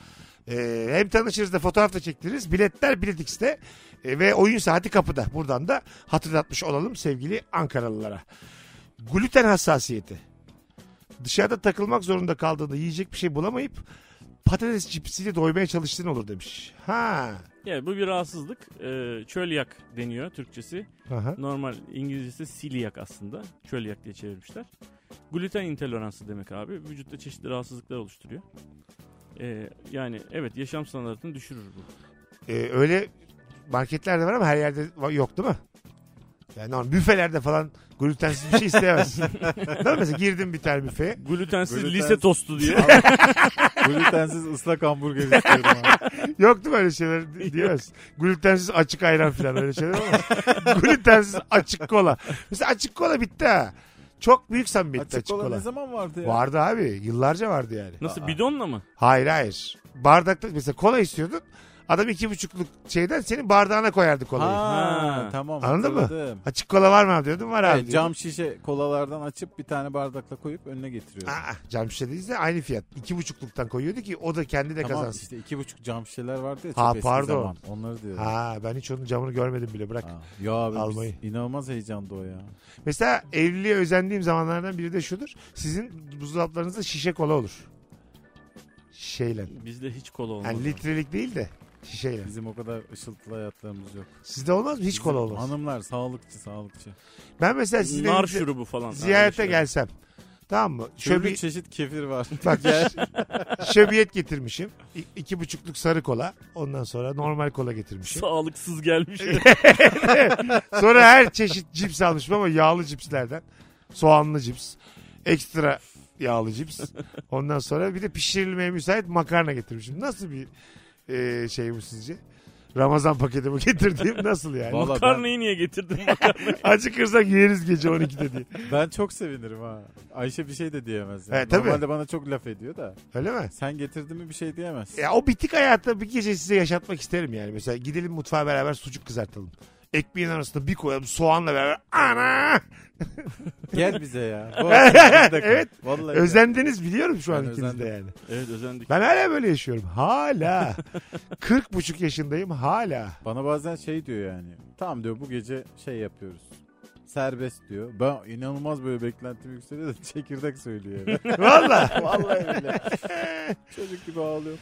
S2: Ee, hem tanışırız da fotoğraf da çektiririz. Biletler Biletix'te Ee, ve oyun saati kapıda. Buradan da hatırlatmış olalım sevgili Ankaralılara. gluten hassasiyeti. Dışarıda takılmak zorunda kaldığında yiyecek bir şey bulamayıp patates cipsiyle doymaya çalıştığın olur demiş. Ha.
S4: Yani bu bir rahatsızlık. Ee, çölyak deniyor Türkçesi.
S2: Aha.
S4: Normal İngilizcesi siliyak aslında. Çölyak diye çevirmişler. Gluten intoleransı demek abi. Vücutta çeşitli rahatsızlıklar oluşturuyor. Ee, yani evet yaşam standartını düşürür bu.
S2: Ee, öyle marketlerde var ama her yerde va- yok değil mi? Yani normal büfelerde falan glutensiz bir şey isteyemezsin. değil mi? Mesela girdim bir tane büfeye.
S4: Glutensiz
S3: Gluten-
S4: lise tostu diye.
S3: Glutensiz ıslak hamburger istiyorum. abi.
S2: Yok değil mi öyle şeyler Di- diyemez. Glutensiz açık ayran falan öyle şeyler olmaz. Glutensiz açık kola. Mesela açık kola bitti ha. Çok büyük samimiyet açık,
S3: Açık kola
S2: kola.
S3: ne zaman vardı ya?
S2: Vardı abi. Yıllarca vardı yani.
S4: Nasıl bidonla mı?
S2: Hayır hayır. Bardakta mesela kola istiyordun. Adam iki buçukluk şeyden senin bardağına koyardı kolayı.
S3: Ha,
S4: Ha.
S3: tamam
S2: Anladın mı?
S3: hatırladım.
S2: Açık kola var mı abi diyordun var abi.
S3: Evet, cam şişe kolalardan açıp bir tane bardakla koyup önüne getiriyor.
S2: Aa, cam şişedeyiz de aynı fiyat. İki buçukluktan koyuyordu ki o da kendi de
S3: Tamam
S2: kazansın.
S3: işte iki buçuk cam şişeler vardı ya çok
S2: Ha,
S3: eski
S2: pardon.
S3: zaman. Onları diyorum.
S2: Ha, ben hiç onun camını görmedim bile bırak.
S3: Ha. Ya abi
S2: Almayı.
S3: biz- inanılmaz heyecandı o ya.
S2: Mesela evliliğe özendiğim zamanlardan biri de şudur. Sizin buzdolaplarınızda şişe kola olur. Şişeyle.
S4: Bizde hiç kola olmaz.
S2: Yani litrelik değil de şişeyle.
S3: Bizim o kadar ışıltılı hayatlarımız yok.
S2: Sizde olmaz mı? Hiç
S3: Bizim
S2: kola olmaz.
S3: Hanımlar sağlıkçı sağlıkçı.
S2: Ben mesela sizin
S4: Nar
S2: evinize
S4: şurubu falan.
S2: ziyarete
S4: Aynen.
S2: gelsem. Tamam mı?
S3: Şöyle
S2: Şöbi,
S3: çeşit kefir var.
S2: bak, şöbiyet getirmişim. İ- iki buçukluk sarı kola. Ondan sonra normal kola getirmişim.
S4: Sağlıksız gelmiş.
S2: Sonra her çeşit cips almışım ama yağlı cipslerden. Soğanlı cips. Ekstra yağlı cips. Ondan sonra bir de pişirilmeye müsait makarna getirmişim. Nasıl bir e, şey bu sizce? Ramazan paketi bu getirdiğim nasıl yani?
S3: Vallahi-
S4: Makarnayı niye getirdin?
S2: Acıkırsak yeriz gece 12'de diye.
S3: Ben çok sevinirim ha. Ayşe bir şey de diyemez. Yani.
S2: He, tabii.
S3: Normalde bana çok laf ediyor da.
S2: Öyle mi?
S3: Sen getirdin mi bir şey diyemez.
S2: Ya o bitik hayatta bir gece size yaşatmak isterim yani. Mesela gidelim mutfağa beraber sucuk kızartalım. Ekmeğin arasında bir koyalım soğanla beraber. Ana!
S3: Gel bize ya. Bu hafta bizde kal.
S2: Evet.
S3: Vallahi
S2: Özendiniz biliyorum şu an
S3: Ben
S2: ikiniz de
S3: özendim.
S2: yani.
S4: evet özendik.
S2: Ben hala böyle yaşıyorum. Hala. 40 buçuk yaşındayım hala.
S3: Bana bazen şey diyor yani. Tamam diyor bu gece şey yapıyoruz. Serbest diyor. Ben inanılmaz böyle beklentim yükseliyor da çekirdek söylüyor. yani.
S2: Valla.
S3: Vallahi öyle. Çocuk gibi ağlıyor.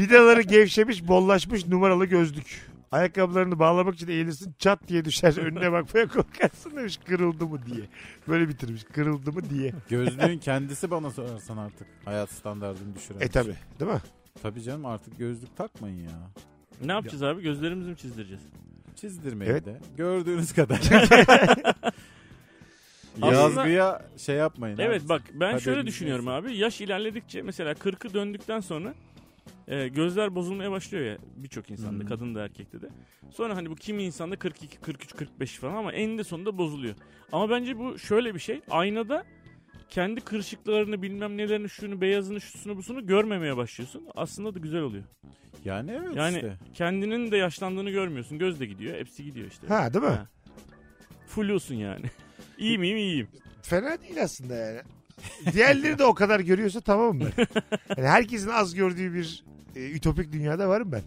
S2: Vidaları gevşemiş, bollaşmış numaralı gözlük. Ayakkabılarını bağlamak için eğilirsin çat diye düşer önüne bakmaya korkarsın demiş kırıldı mı diye. Böyle bitirmiş kırıldı mı
S3: E,
S2: diye.
S3: Gözlüğün kendisi bana sorarsan artık hayat standartını düşüren. şey.
S2: E tabi değil mi?
S3: Tabii canım artık gözlük takmayın ya.
S4: Ne yapacağız abi? Gözlerimizi mi çizdireceğiz?
S3: Çizdirmeyi
S2: Evet.
S3: de. Gördüğünüz kadar.
S4: Aslında-
S3: Yazgıya şey yapmayın.
S4: Evet
S3: abi.
S4: bak ben
S3: Hadi
S4: şöyle
S3: elinize
S4: düşünüyorum
S3: sağlık.
S4: abi. Yaş ilerledikçe mesela 40'ı döndükten sonra e, gözler bozulmaya başlıyor ya birçok insanda,
S3: Hı.
S4: kadın da erkekte de. Sonra hani bu kimi insanda 42, 43, 45 falan ama eninde sonunda bozuluyor. Ama bence bu şöyle bir şey. Aynada kendi kırışıklarını bilmem nelerini şunu beyazını şusunu busunu görmemeye başlıyorsun. Aslında da güzel oluyor.
S3: Yani evet
S4: Yani
S3: işte.
S4: kendinin de yaşlandığını görmüyorsun. Göz de gidiyor. Hepsi gidiyor işte.
S2: Ha değil mi?
S4: Ha. Fulluyorsun yani. iyi miyim iyiyim.
S2: Fena değil aslında yani. Diğerleri de o kadar görüyorsa tamam mı? Yani herkesin az gördüğü bir e, ütopik dünyada varım ben.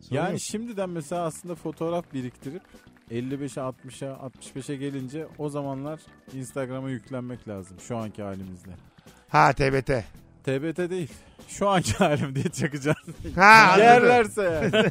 S2: Sorun
S3: Yani
S2: yok.
S3: şimdiden mesela aslında fotoğraf biriktirip 55'e 60'a 65'e gelince o zamanlar Instagram'a yüklenmek lazım şu anki halimizle.
S2: Ha TBT.
S3: TBT değil. Şu anki halim diye çakacağız.
S2: Ha anladım.
S3: Yerlerse yani.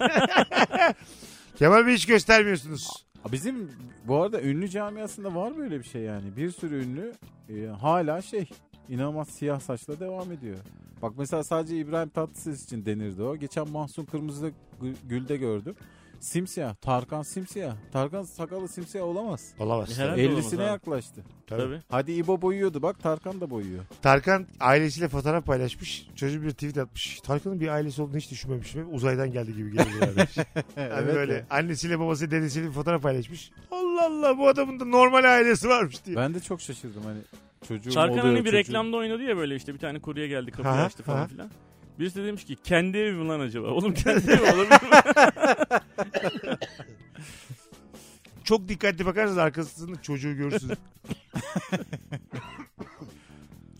S2: Kemal Bey hiç göstermiyorsunuz.
S3: Bizim bu arada ünlü camiasında var böyle bir şey yani. Bir sürü ünlü e, hala şey inanılmaz siyah saçla devam ediyor. Bak mesela sadece İbrahim Tatlıses için denirdi o. Geçen Mahsun Kırmızı'da Gü- Gül'de gördüm. Simsiyah. Tarkan simsiyah. Tarkan sakalı simsiyah olamaz.
S2: Olamaz.
S4: Herhalde
S2: tabii.
S3: 50'sine
S4: abi.
S3: yaklaştı.
S2: Tabii.
S4: Tabii.
S3: Hadi İbo boyuyordu bak Tarkan da boyuyor.
S2: Tarkan ailesiyle fotoğraf paylaşmış. Çocuğu bir tweet atmış. Tarkan'ın bir ailesi olduğunu hiç düşünmemişim. Uzaydan geldi gibi geliyor. bana demiş. Yani Hani böyle annesiyle babası dedesiyle bir fotoğraf paylaşmış. Allah Allah bu adamın da normal ailesi varmış diye.
S3: Ben de çok şaşırdım hani çocuğum
S4: Çarkan
S3: oluyor.
S4: hani bir
S3: çocuğum-
S4: reklamda oynadı ya böyle işte bir tane kurye geldi kapıyı
S2: Ha,
S4: açtı falan
S2: ha.
S4: filan. Birisi de demiş ki kendi evi mi lan acaba? Oğlum kendi evi olabilir mi?
S2: Çok dikkatli bakarsanız arkasında çocuğu görürsünüz.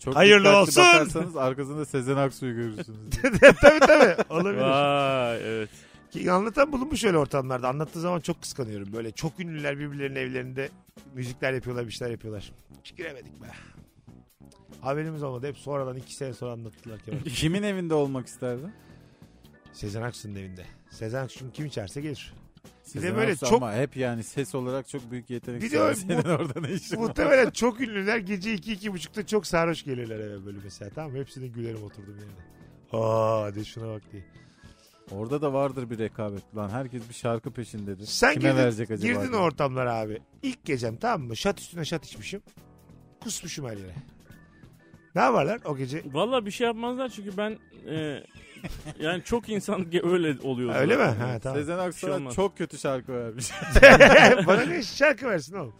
S3: Çok
S2: Hayırlı
S3: dikkatli
S2: olsun.
S3: Bakarsanız arkasında Sezen Aksu'yu görürsünüz.
S2: tabii tabii olabilir.
S4: Vay evet.
S2: Ki Anlatan bulunmuş öyle ortamlarda. Anlattığı zaman çok kıskanıyorum. Böyle çok ünlüler birbirlerinin evlerinde müzikler yapıyorlar bir şeyler yapıyorlar. hiç giremedik be. Haberimiz olmadı. Hep sonradan iki sene sonra anlattılar Kemal.
S3: Kimin evinde olmak isterdin?
S2: Sezen Aksu'nun evinde. Sezen Aksu'nun kim içerse gelir.
S3: Sezen
S2: böyle
S3: Aksu
S2: çok-
S3: Ama hep yani ses olarak çok büyük yetenek.
S2: Bir de
S3: sahibi.
S2: öyle
S3: Senin orada ne işin var?
S2: Muhtemelen çok ünlüler gece 2-2.30'da çok sarhoş gelirler eve böyle mesela. Tamam mı? Hepsine gülerim oturdum yerde. Aa de şuna bak diye.
S3: Orada da vardır bir rekabet. Lan herkes bir şarkı peşindedir.
S2: Sen
S3: Kime
S2: girdin,
S3: verecek acaba?
S2: girdin
S3: diye.
S2: o ortamlara abi. İlk gecem tamam mı? Şat üstüne şat içmişim. Kusmuşum her yere. Ne yaparlar o gece?
S4: Valla bir şey yapmazlar çünkü ben e, yani çok insan ge- öyle oluyor.
S2: Öyle mi? Ha tamam.
S3: Sezen
S4: Bir şey
S3: Aksu'na
S4: olmaz.
S3: çok kötü şarkı vermiş.
S2: Bana ne şarkı versin oğlum.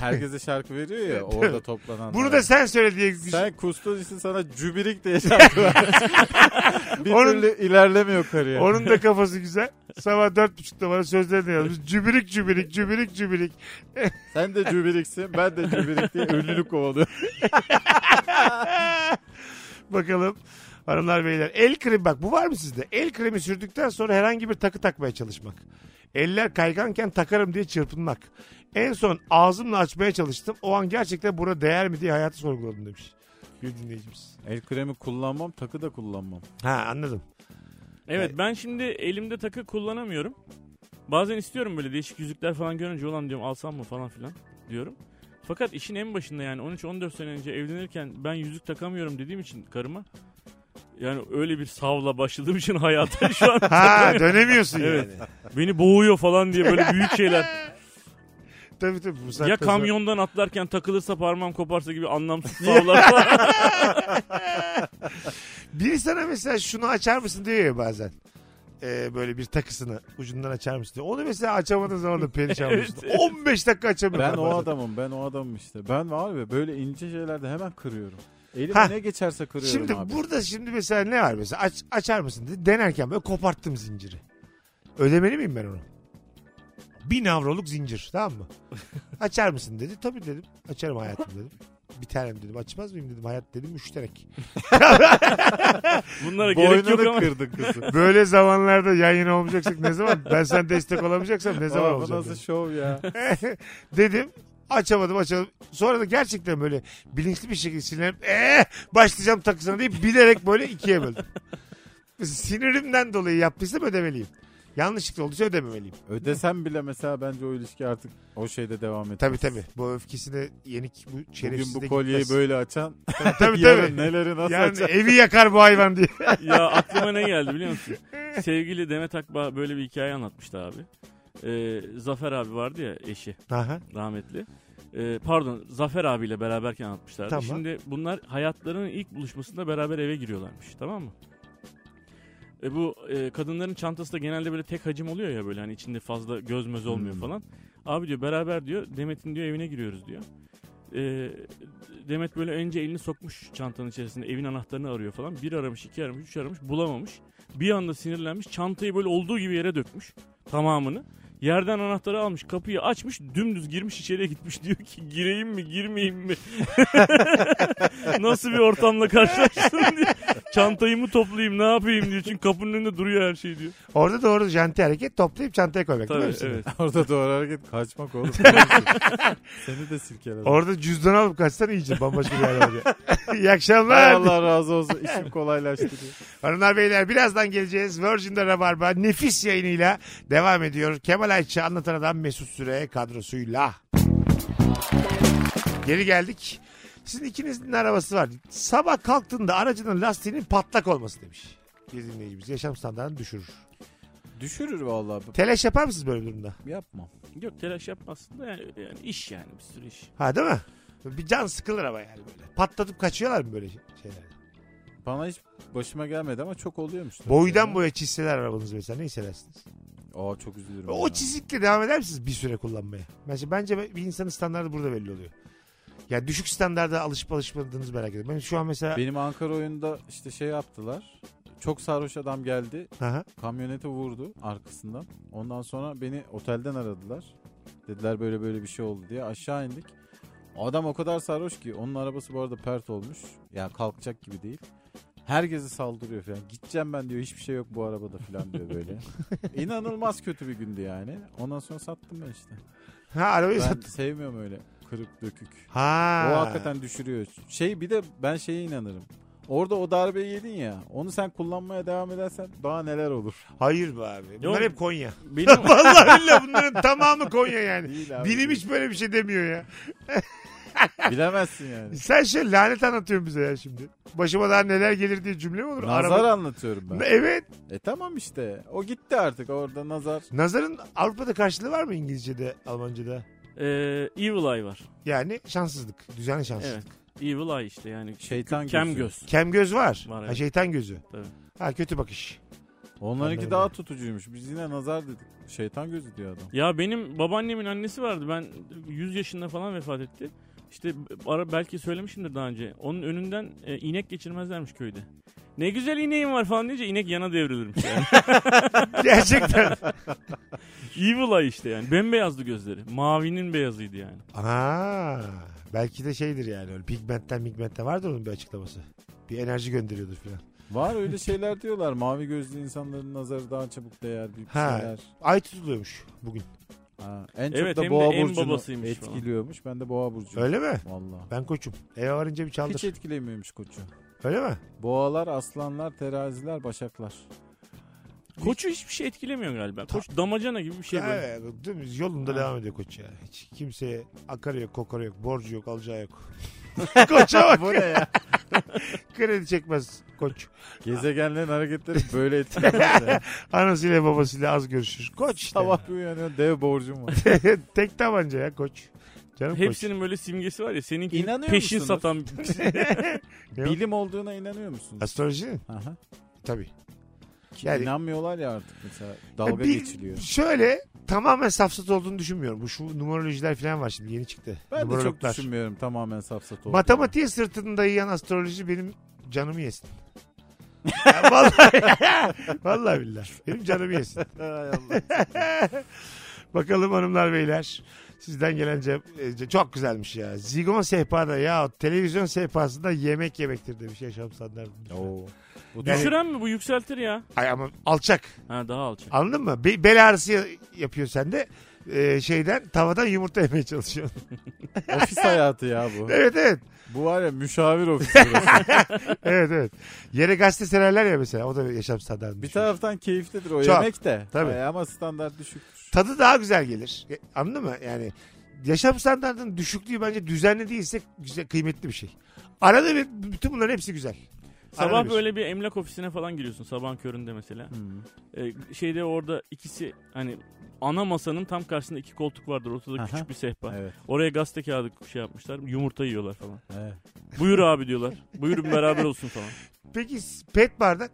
S3: Herkese şarkı veriyor ya orada toplanan. şey.
S2: Bunu da sen söyle diye.
S3: sen kustodisin sana cübirik diye şarkı vermiş. bir
S2: Onun-
S3: türlü ilerlemiyor kariyer.
S2: Onun da kafası güzel. Sabah dört buçukta bana sözlerini yazmış. Cübirik cübirik cübirik cübirik.
S3: Sen de cübiriksin ben de cübirik diye ünlülük kovalıyor.
S2: Bakalım hanımlar beyler. El kremi bak bu var mı sizde? El kremi sürdükten sonra herhangi bir takı takmaya çalışmak. Eller kayganken takarım diye çırpınmak. En son ağzımla açmaya çalıştım. O an gerçekten buna değer mi diye hayatı sorguladım demiş. Bir dinleyicimiz.
S3: El kremi kullanmam takı da kullanmam.
S2: Ha anladım.
S4: Evet ben şimdi elimde takı kullanamıyorum. Bazen istiyorum böyle değişik yüzükler falan görünce olan diyorum alsam mı falan filan diyorum. Fakat işin en başında yani 13-14 sene önce evlenirken ben yüzük takamıyorum dediğim için karıma yani öyle bir savla başladığım için hayata şu an
S2: Ha dönemiyorsun
S4: Evet.
S2: yani.
S4: beni boğuyor falan diye böyle büyük şeyler.
S2: Tabii tabii. bu saatten
S4: ya
S2: sonra-
S4: kamyondan atlarken takılırsa parmağım koparsa gibi anlamsız savlar falan.
S2: Biri sana mesela şunu açar mısın diyor ya bazen. Ee, böyle bir takısını ucundan açar mısın diyor. Onu mesela açamadığın zaman da perişan oluyorsun. 15 dakika
S3: Ben
S2: açamıyorum.
S3: o
S2: bazen.
S3: adamım ben o adamım işte. Ben var ya böyle ince şeylerde hemen kırıyorum. Elime
S2: Ha.
S3: ne geçerse kırıyorum
S2: Şimdi
S3: abi.
S2: burada şimdi mesela ne var mesela aç, açar mısın dedi. Denerken böyle koparttım zinciri. Ödemeli miyim ben onu? Bir navroluk zincir tamam mı? Açar mısın dedi. Tabii dedim. Açarım hayatım dedim. Bir tanem dedim. Açmaz mıyım dedim. Hayat dedim müşterek.
S4: Bunlara gerek yok
S3: Boynunu
S4: ama.
S3: kırdık kızı.
S2: Böyle zamanlarda yayın olmayacaksak ne zaman? Ben sen destek olamayacaksam ne zaman
S3: Aa, bu
S2: olacağım?
S3: nasıl
S2: dedim.
S3: şov ya.
S2: dedim. Açamadım açamadım. Sonra da gerçekten böyle bilinçli bir şekilde sinirlenip ee, başlayacağım takısına deyip bilerek böyle ikiye böldüm. Mesela Sinirimden dolayı yaptıysam ödemeliyim. Yanlışlıkla olduysa ödememeliyim.
S3: Ödesem bile mesela bence o ilişki artık o şeyde devam etmez.
S2: Tabii tabii. Bu öfkesine yenik bu şerefsiz
S3: Bugün
S2: de
S3: bu kolyeyi
S2: gitmez.
S3: böyle açan
S2: tabii,
S3: yarın
S2: tabii.
S3: neleri nasıl
S2: Yani
S3: açar?
S2: evi yakar bu hayvan diye.
S4: ya aklıma ne geldi biliyor musun? Sevgili Demet Akbağ böyle bir hikaye anlatmıştı abi. Ee, Zafer abi vardı ya eşi
S2: Aha.
S4: rahmetli. Ee, pardon Zafer abiyle beraberken anlatmışlardı.
S2: Tamam.
S4: Şimdi bunlar hayatlarının ilk buluşmasında beraber eve giriyorlarmış tamam mı? E bu e, kadınların çantası da genelde böyle tek hacim oluyor ya böyle hani içinde fazla göz möz olmuyor
S3: Hmm.
S4: falan. Abi diyor beraber diyor Demet'in diyor evine giriyoruz diyor. E, Demet böyle önce elini sokmuş çantanın içerisinde evin anahtarını arıyor falan. Bir aramış iki aramış üç aramış bulamamış. Bir anda sinirlenmiş çantayı böyle olduğu gibi yere dökmüş tamamını. Yerden anahtarı almış kapıyı açmış dümdüz girmiş içeriye gitmiş diyor ki gireyim mi girmeyeyim mi? Nasıl bir ortamla karşılaştın diyor. Çantayı mı toplayayım ne yapayım diyor. Çünkü kapının önünde duruyor her şey diyor.
S2: Orada doğru janti hareket toplayıp çantaya koymak değil
S4: Tabii
S2: mi?
S4: evet.
S3: Orada doğru hareket kaçmak oğlum. Seni de silkeler.
S2: Orada cüzdan alıp kaçsan iyice bambaşka bir yer var ya. İyi
S3: Hay
S2: akşamlar.
S3: Allah razı olsun. İşim kolaylaştı diye.
S2: Hanımlar beyler birazdan geleceğiz. Virgin'de Rabarba nefis yayınıyla devam ediyor. Kemal Ayça anlatan adam Mesut Süre kadrosuyla. Geri geldik. Sizin ikinizin arabası var. Sabah kalktığında aracının lastiğinin patlak olması demiş. Bir dinleyicimiz yaşam standartını düşürür.
S3: Düşürür vallahi.
S2: Telaş yapar mısınız böyle bir durumda?
S3: Yapmam.
S4: Yok telaş yapmazsın da yani, yani iş yani bir sürü iş.
S2: Ha değil mi? Bir can sıkılır ama yani böyle. Patlatıp kaçıyorlar mı böyle şeyler?
S3: Bana hiç başıma gelmedi ama çok oluyormuş. tabii
S2: Boydan
S3: ya.
S2: boya çizseler arabanızı mesela ne hissedersiniz?
S3: Aa çok üzülürüm.
S2: O
S3: ya.
S2: çizikle devam eder misiniz bir süre kullanmaya? Bence, bence bir insanın standartı burada belli oluyor. Yani düşük standarda alışıp alışmadığınız merak ediyorum. Ben şu an mesela...
S3: Benim Ankara oyununda işte şey yaptılar. Çok sarhoş adam geldi.
S2: Aha.
S3: Kamyonete vurdu arkasından. Ondan sonra beni otelden aradılar. Dediler böyle böyle bir şey oldu diye. Aşağı indik. Adam o kadar sarhoş ki onun arabası bu arada pert olmuş. Yani kalkacak gibi değil. Herkesi saldırıyor falan. Gideceğim ben diyor hiçbir şey yok bu arabada falan diyor böyle. İnanılmaz kötü bir gündü yani. Ondan sonra sattım ben işte.
S2: Ha arabayı
S3: Ben
S2: sattın.
S3: sevmiyorum öyle kırık dökük.
S2: Ha.
S3: O hakikaten düşürüyor. Şey bir de ben şeye inanırım. Orada o darbeyi yedin ya. Onu sen kullanmaya devam edersen daha neler olur.
S2: Hayır be abi. Bunlar
S4: Yok.
S2: hep Konya.
S4: Benim
S2: Vallahi billahi bunların tamamı Konya yani.
S3: Değil abi.
S2: Bilim hiç böyle bir şey demiyor ya.
S3: Bilemezsin yani.
S2: Sen şey lanet anlatıyorsun bize ya şimdi. Başıma daha neler gelir diye cümle mi olur?
S3: Nazar
S2: Araba-
S3: anlatıyorum ben.
S2: Evet.
S3: E tamam işte. O gitti artık orada nazar.
S2: Nazarın Avrupa'da karşılığı var mı İngilizce'de, Almanca'da?
S4: e, Evil Eye var.
S2: Yani şanssızlık. Düzenli şanssızlık.
S4: Evet. Evil Eye işte yani.
S3: Şeytan
S4: Kem
S3: gözü.
S4: göz.
S2: Kem göz var.
S4: Var, evet.
S2: ha, şeytan gözü.
S4: Tabii.
S2: Ha kötü bakış.
S3: Onlarınki
S2: Anladım.
S3: daha tutucuymuş. Biz yine nazar dedik. Şeytan gözü diyor adam.
S4: Ya benim babaannemin annesi vardı. Ben 100 yaşında falan vefat etti. İşte ara belki söylemişimdir daha önce. Onun önünden e, inek geçirmezlermiş köyde. Ne güzel ineğim var falan deyince inek yana devrilirmiş yani.
S2: Gerçekten.
S4: Evil Eye işte yani. Bembeyazdı gözleri. Mavinin beyazıydı yani.
S2: Aa, belki de şeydir yani. Öyle pigmentten pigmentten vardır onun bir açıklaması. Bir enerji gönderiyordur filan.
S3: Var öyle şeyler diyorlar. Mavi gözlü insanların nazarı daha çabuk değer. Bir
S2: Ha.
S3: şeyler.
S2: Ay tutuluyormuş bugün.
S3: Ha. En çok
S4: Evet,
S3: da
S4: hem de
S3: boğa
S4: en
S3: burcunu
S4: babasıymış falan.
S3: etkiliyormuş. Ben de boğa burcuyum.
S2: Öyle mi?
S3: Vallahi.
S2: Ben koçum. Eve varınca bir çaldır.
S3: Hiç etkilemiyormuş koçu.
S2: Öyle mi?
S3: Boğalar, aslanlar, teraziler, başaklar.
S4: Koçu hiçbir şey etkilemiyor galiba. Koç damacana gibi bir şey böyle.
S2: Evet, değil mi? Yolunda
S4: Ha.
S2: devam ediyor koç ya. Hiç kimseye akarı yok, kokarı yok, borcu yok, alacağı yok. Koça bak.
S3: Bu ne ya?
S2: Kredi çekmez koç.
S3: Gezegenlerin hareketleri böyle etkilemez ya.
S2: Anasıyla babasıyla az görüşür. Koç işte.
S3: Sabah bir uyanıyor dev borcum var.
S2: Tek tabanca ya koç. Canım
S4: Hepsinin böyle simgesi var ya. Seninki
S3: İnanıyor
S4: peşin
S3: musunuz?
S4: satan
S2: Yok.
S3: Bilim olduğuna inanıyor
S2: koç.
S3: musunuz?
S2: Astroloji mi?
S3: Aha.
S2: Tabii.
S3: Ki
S2: Yani-
S3: inanmıyorlar ya artık mesela. Dalga
S2: Bir-
S3: geçiliyor.
S2: Şöyle tamamen safsat olduğunu düşünmüyorum. Bu şu numerolojiler falan var şimdi yeni çıktı.
S3: Ben de çok
S2: Numerologlar.
S3: düşünmüyorum tamamen safsat olduğunu.
S2: Matematiğe sırtını dayayan astroloji benim canımı yesin. Ya vallahi, vallahi billahi. Benim canımı yesin.
S3: Hay Allah.
S2: Bakalım hanımlar beyler. Sizden gelen cep- e, ce- çok güzelmiş ya. Zigon sehpada ya televizyon sehpasında yemek yemektir demiş yaşam standartı.
S3: Oo. Bu
S2: Yani-
S4: Düşüren mi bu yükseltir ya?
S2: Ay ama alçak.
S4: Ha daha alçak.
S2: Anladın mı? Be- bel ağrısı ya- yapıyor sende. Ee, şeyden tavadan yumurta yemeye çalışıyorsun.
S3: ofis hayatı ya bu.
S2: evet evet.
S3: Bu var ya müşavir ofisi burası.
S2: Evet evet. Yere gazete sererler ya mesela. O da bir yaşam standartı.
S3: Bir taraftan keyiflidir o
S2: Çok.
S3: yemek de.
S2: Tabii.
S3: Ay, ama standart düşüktür.
S2: Tadı daha güzel gelir. E, Anladın mı? Yani yaşam standartının düşüklüğü bence düzenli değilse güzel, kıymetli bir şey. Arada bir bütün bunların hepsi güzel.
S4: Sabah
S2: Arada bir-
S4: böyle bir emlak ofisine falan giriyorsun sabahın köründe mesela.
S3: Hmm.
S4: Ee, şeyde orada ikisi hani ana masanın tam karşısında iki koltuk vardır ortada
S3: Aha.
S4: küçük bir sehpa.
S3: Evet.
S4: Oraya gazete kağıdı şey yapmışlar yumurta yiyorlar falan.
S3: evet.
S4: Buyur abi diyorlar. Buyurun beraber olsun falan.
S2: Peki pet bardak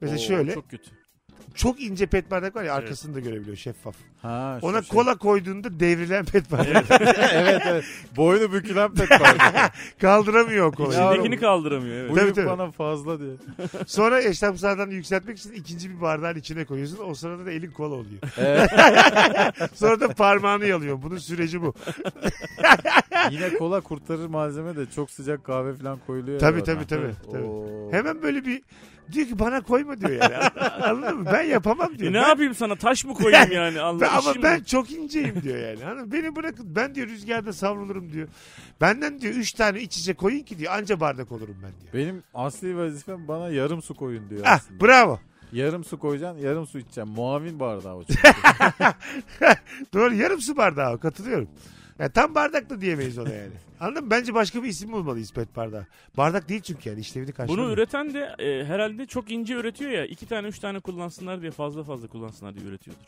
S2: mesela
S4: Oo,
S2: şöyle çok...
S4: Çok kötü.
S2: ince pet bardak var ya arkasını da görebiliyor şeffaf.
S3: Ha, şu
S2: Ona
S3: şey.
S2: kola koyduğunda devrilen pet bardak.
S3: evet evet. Boynu bükülen pet var.
S2: Kaldıramıyor o kolayı.
S3: Ya-
S4: İçindekini kaldıramıyor evet.
S2: Tabii,
S3: Uyruk
S2: tabii.
S3: bana fazla diye.
S2: Sonra yaşam standartını yükseltmek için ikinci bir bardağın içine koyuyorsun. O sırada da elin kola oluyor.
S3: Evet.
S2: Sonra da parmağını yalıyor. Bunun süreci bu.
S3: Yine kola kurtarır malzeme de çok sıcak kahve falan koyuluyor.
S2: Tabii,
S3: ya
S2: tabii,
S3: ona.
S2: tabii, tabii.
S3: Oo.
S2: Hemen böyle bir diyor ki bana koyma diyor yani. Anladın mı? Ben yapamam diyor.
S4: E, ne
S2: Ben-
S4: yapayım sana taş mı koyayım yani
S2: ben-
S4: Allah
S2: ama
S4: işim
S2: ben
S4: mi?
S2: çok inceyim diyor yani. Hanım beni bırakın. Ben diyor rüzgarda savrulurum diyor. Benden diyor üç tane iç içe koyun ki diyor anca bardak olurum ben diyor.
S3: Benim asli vazifem bana yarım su koyun diyor
S2: Ah
S3: aslında.
S2: bravo.
S3: Yarım su koyacaksın, yarım su içeceksin. Muavin bardağı o çünkü.
S2: Doğru yarım su bardağı o, katılıyorum. Yani tam bardak da diyemeyiz ona yani. Anladın mı? Bence başka bir isim bulmalıyız pet bardağı. Bardak değil çünkü yani işlevini karşılamıyor.
S4: Bunu üreten de e, herhalde çok ince üretiyor ya. iki tane üç tane kullansınlar diye fazla fazla kullansınlar diye üretiyordur.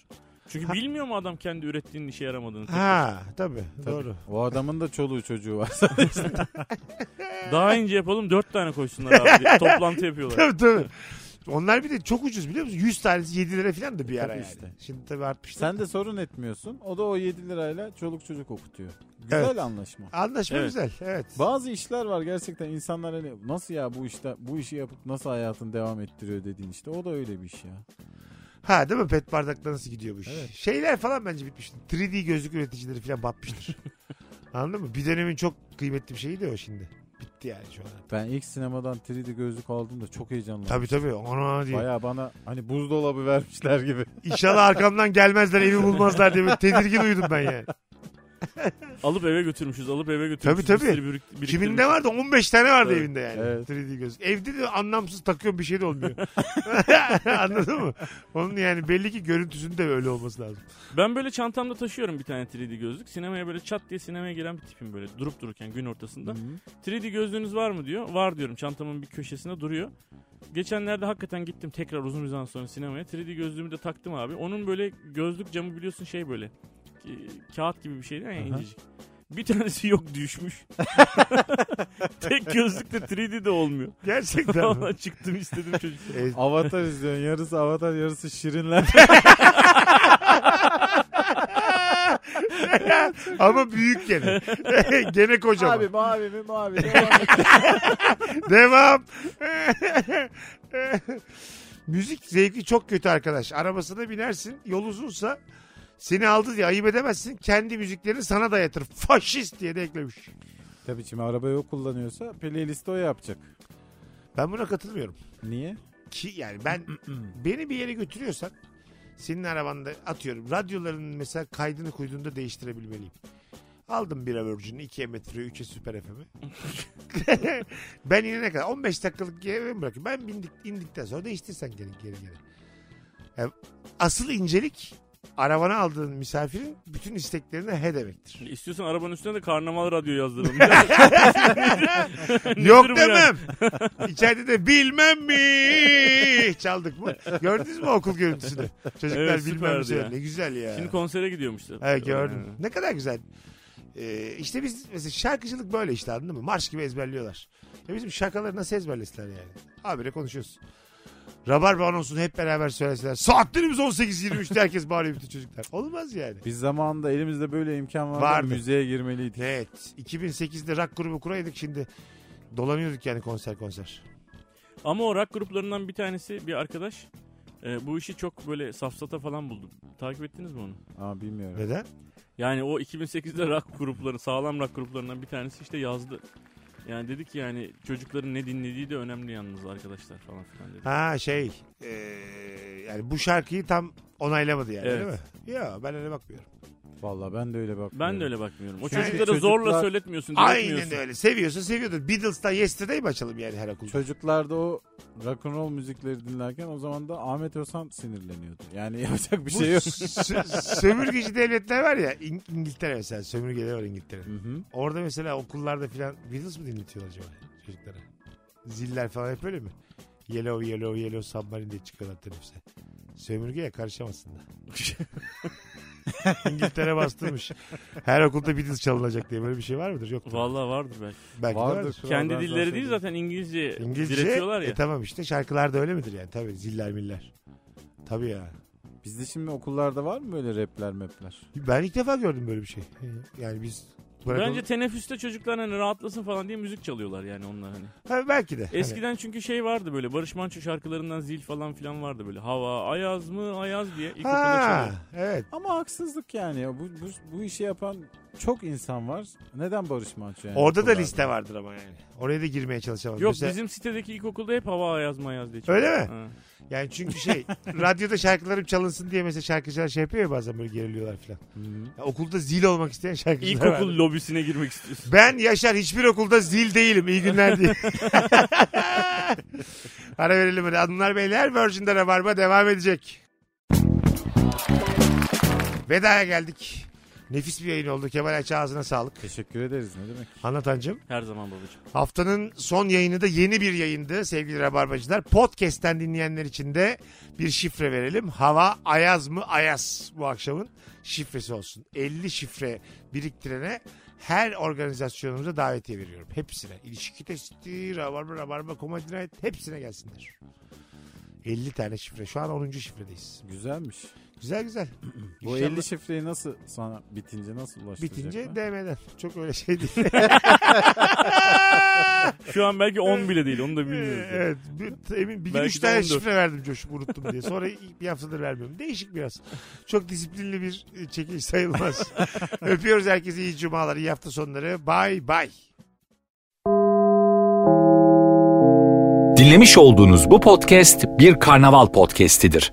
S4: Çünkü
S2: Ha.
S4: bilmiyor mu adam kendi ürettiğinin işe yaramadığını?
S2: Ha tabii,
S3: Tabii.
S2: doğru.
S3: O adamın da çoluğu çocuğu var.
S4: Daha ince yapalım dört tane koysunlar abi diye toplantı yapıyorlar.
S2: Tabii tabii. Onlar bir de çok ucuz biliyor musun? 100 tanesi 7 lira falan da bir ara
S3: Tabii
S2: yani.
S3: işte.
S2: Şimdi tabii artmıştı.
S3: Sen de sorun etmiyorsun. O da o 7 lirayla çoluk çocuk okutuyor. Güzel
S2: Evet.
S3: anlaşma.
S2: Anlaşma
S4: Evet.
S2: güzel. Evet.
S3: Bazı işler var gerçekten insanlar hani nasıl ya bu işte bu işi yapıp nasıl hayatını devam ettiriyor dediğin işte o da öyle bir iş ya.
S2: Ha değil mi? Pet bardakla nasıl gidiyor bu iş?
S3: Evet.
S2: Şeyler falan bence bitmiştir. 3D gözlük üreticileri falan batmıştır. Anladın mı? Bir dönemin çok kıymetli bir şeyi de o şimdi. Bitti yani şu an.
S3: Ben ilk sinemadan 3D gözlük aldığımda çok heyecanlandım.
S2: Tabii tabii. Ona diye.
S3: Baya bana hani buzdolabı vermişler gibi.
S2: İnşallah arkamdan gelmezler, evi bulmazlar diye böyle tedirgin uyudum ben yani.
S4: alıp eve götürmüşüz. Alıp eve götürmüşüz.
S2: Tabii, tabii.
S4: Bir sürü birik- biriktirmişiz.
S2: Kiminde vardı? 15 tane vardı
S4: Evet.
S2: evinde yani.
S3: Evet.
S2: 3D göz. Evde de anlamsız takıyorum bir şey de olmuyor. Anladın mı? Onun yani belli ki görüntüsünde öyle olması lazım.
S4: Ben böyle çantamda taşıyorum bir tane 3D gözlük. Sinemaya böyle çat diye sinemaya giren bir tipim böyle durup dururken gün ortasında. 3D gözlüğünüz var mı diyor. Var diyorum çantamın bir köşesinde duruyor. Geçenlerde hakikaten gittim tekrar uzun bir zaman sonra sinemaya. 3D gözlüğümü de taktım abi. Onun böyle gözlük camı biliyorsun şey böyle. ki- kağıt gibi bir şey değil mi? Yani
S3: Aha.
S4: incecik. Bir tanesi yok düşmüş. Tek gözlükte 3D de olmuyor.
S2: Gerçekten. mi?
S4: Vallahi çıktım istedim çocuk.
S2: E,
S3: Avatar izliyorsun. Yarısı Avatar yarısı Şirinler.
S2: Ama büyük gene. gene kocaman.
S3: abi mavi mi mavi mi?
S2: Devam. Müzik zevki çok kötü arkadaş. Arabasına binersin yol uzunsa seni aldı diye ayıp edemezsin. Kendi müziklerini sana dayatır. Faşist diye de eklemiş.
S3: Tabii şimdi arabayı o kullanıyorsa playlist'i o yapacak.
S2: Ben buna katılmıyorum.
S3: Niye?
S2: Ki yani ben beni bir yere götürüyorsan senin arabanda atıyorum radyoların mesela kaydını kuyduğunda değiştirebilmeliyim. Aldım bir Virgin'i, 2 Emetri'yi, 3'e Süper FM'i. ben inene kadar 15 dakikalık yere mi bırakayım? Ben bindik, indikten sonra değiştirsen geri geri geri. Yani asıl incelik arabana aldığın misafirin bütün isteklerine he demektir.
S4: İstiyorsan arabanın üstüne de karnaval radyo yazdıralım. bu
S2: Yok
S4: ya?
S2: demem. İçeride de bilmem mi çaldık mı? Gördünüz mü okul görüntüsünü? Çocuklar
S4: Evet,
S2: bilmem mi
S4: süperdi ya.
S2: söyledi. Ne güzel ya.
S4: Şimdi konsere gidiyormuşlar.
S2: Evet gördüm. Ne kadar güzel. Ee, işte biz mesela şarkıcılık böyle işte anladın mı? Marş gibi ezberliyorlar. Ya bizim şakaları nasıl ezberlesinler yani? Habire konuşuyoruz. Rabarba anonsunu hep beraber söyleseler. Saatlerimiz 18.23'te herkes bağırıyor bütün çocuklar. Olmaz yani.
S3: Biz zamanında elimizde böyle imkan vardı.
S2: Vardı.
S3: Müzeye girmeliydik.
S2: Evet. 2008'de rock grubu kuraydık şimdi. Dolanıyorduk yani konser konser.
S4: Ama o rock gruplarından bir tanesi bir arkadaş e, bu işi çok böyle safsata falan buldu. Takip ettiniz mi onu?
S3: Aa bilmiyorum.
S2: Neden?
S4: Yani o 2008'de rock grupları, sağlam rock gruplarından bir tanesi işte yazdı. Yani dedi ki yani çocukların ne dinlediği de önemli yalnız arkadaşlar falan filan dedi.
S2: Ha şey eee, yani bu şarkıyı tam onaylamadı yani
S4: Evet.
S2: değil mi? Ya ben öyle bakmıyorum.
S3: Vallahi ben de öyle bak.
S4: Ben de öyle bakmıyorum. O
S2: Yani
S4: çocuklara
S3: çocuklar-
S4: zorla söyletmiyorsun,
S2: Aynen
S4: diretmiyorsun.
S2: öyle. Seviyorsa seviyordur. Beatles'tan Yesterday mi açalım yani her okulda?
S3: Çocuklarda o rock'n'roll müzikleri dinlerken o zaman da Ahmet Özhan sinirleniyordu. Yani yapacak bir
S2: Bu
S3: şey yok.
S2: sö- sömürgeci devletler var ya İng- İngiltere mesela sömürgeler var İngiltere.
S3: Hı-hı.
S2: Orada mesela okullarda filan Beatles mı dinletiyorlar acaba çocuklara? Ziller falan hep öyle mi? Yellow yellow yellow submarine diye çıkıyorlar teneffüse. Sömürgeye karışamazsın da. İngiltere bastırmış. Her okulda Beatles çalınacak diye böyle bir şey var mıdır? Yok.
S4: Vallahi vardır belki.
S2: Belki de vardır.
S4: Kendi dilleri değil zaten İngilizce,
S2: İngilizce
S4: diretiyorlar ya.
S2: E tamam işte şarkılar da öyle midir yani tabii ziller miller. Tabii ya.
S3: Bizde şimdi okullarda var mı böyle rapler mepler?
S2: Ben ilk defa gördüm böyle bir şey. Yani biz bırakalım.
S4: Bence teneffüste çocuklar hani rahatlasın falan diye müzik çalıyorlar yani onlar hani.
S2: Ha, belki de. Hani
S4: Eskiden çünkü şey vardı böyle Barış Manço şarkılarından zil falan filan vardı böyle. Hava ayaz mı ayaz diye ilk
S2: Hani- Ha,
S4: çalıyor.
S2: evet.
S3: Ama haksızlık yani. ya. Bu, bu, bu işi yapan çok insan var. Neden Barış Manço yani?
S2: Orada da
S3: okullarda?
S2: liste vardır ama yani. Oraya da girmeye çalışamaz.
S4: Yok
S2: Mesela-
S4: bizim sitedeki ilkokulda hep hava ayaz mı ayaz diye
S2: Öyle mi?
S4: Ha.
S2: Yani çünkü şey radyoda şarkılarım çalınsın diye mesela şarkıcılar şey yapıyor ya bazen böyle geriliyorlar falan.
S3: Hı.
S2: Ya okulda zil olmak isteyen şarkıcılar var.
S4: İlkokul lobisine girmek istiyorsun.
S2: Ben Yaşar hiçbir okulda zil değilim. İyi günler diye. Ara verelim hadi. Hanımlar beyler Virgin'de Rabarba devam edecek. Veda'ya geldik. Nefis bir yayın oldu. Kemal Ayça ağzına sağlık.
S3: Teşekkür ederiz ne demek.
S2: Anlatancım.
S4: Her zaman babacığım.
S2: Haftanın son yayını da yeni bir yayındı sevgili Rabarbacılar. Podcast'ten dinleyenler için de bir şifre verelim. Hava ayaz mı ayaz bu akşamın şifresi olsun. 50 şifre biriktirene her organizasyonumuza davetiye veriyorum. Hepsine. İlişki testi, rabarba, rabarba, komedi night hepsine gelsinler. 50 tane şifre. Şu an 10. şifredeyiz.
S3: Güzelmiş.
S2: Güzel güzel.
S3: Bu
S2: İnşallah
S3: 50 şifreyi nasıl sana bitince nasıl ulaştıracaklar?
S2: bitince DM'den. Çok öyle şey değil.
S4: Şu an belki 10 bile değil onu da bilmiyoruz. yani.
S2: Evet. Bir, emin, bir gün
S4: Belki
S2: üç
S4: de
S2: tane
S4: 14.
S2: şifre verdim coşup unuttum diye. Sonra bir haftadır vermiyorum. Değişik biraz. Çok disiplinli bir e, çekiliş sayılmaz. Öpüyoruz herkese iyi cumalar, iyi hafta sonları. Bay bay.
S1: Dinlemiş olduğunuz bu podcast bir karnaval podcastidir.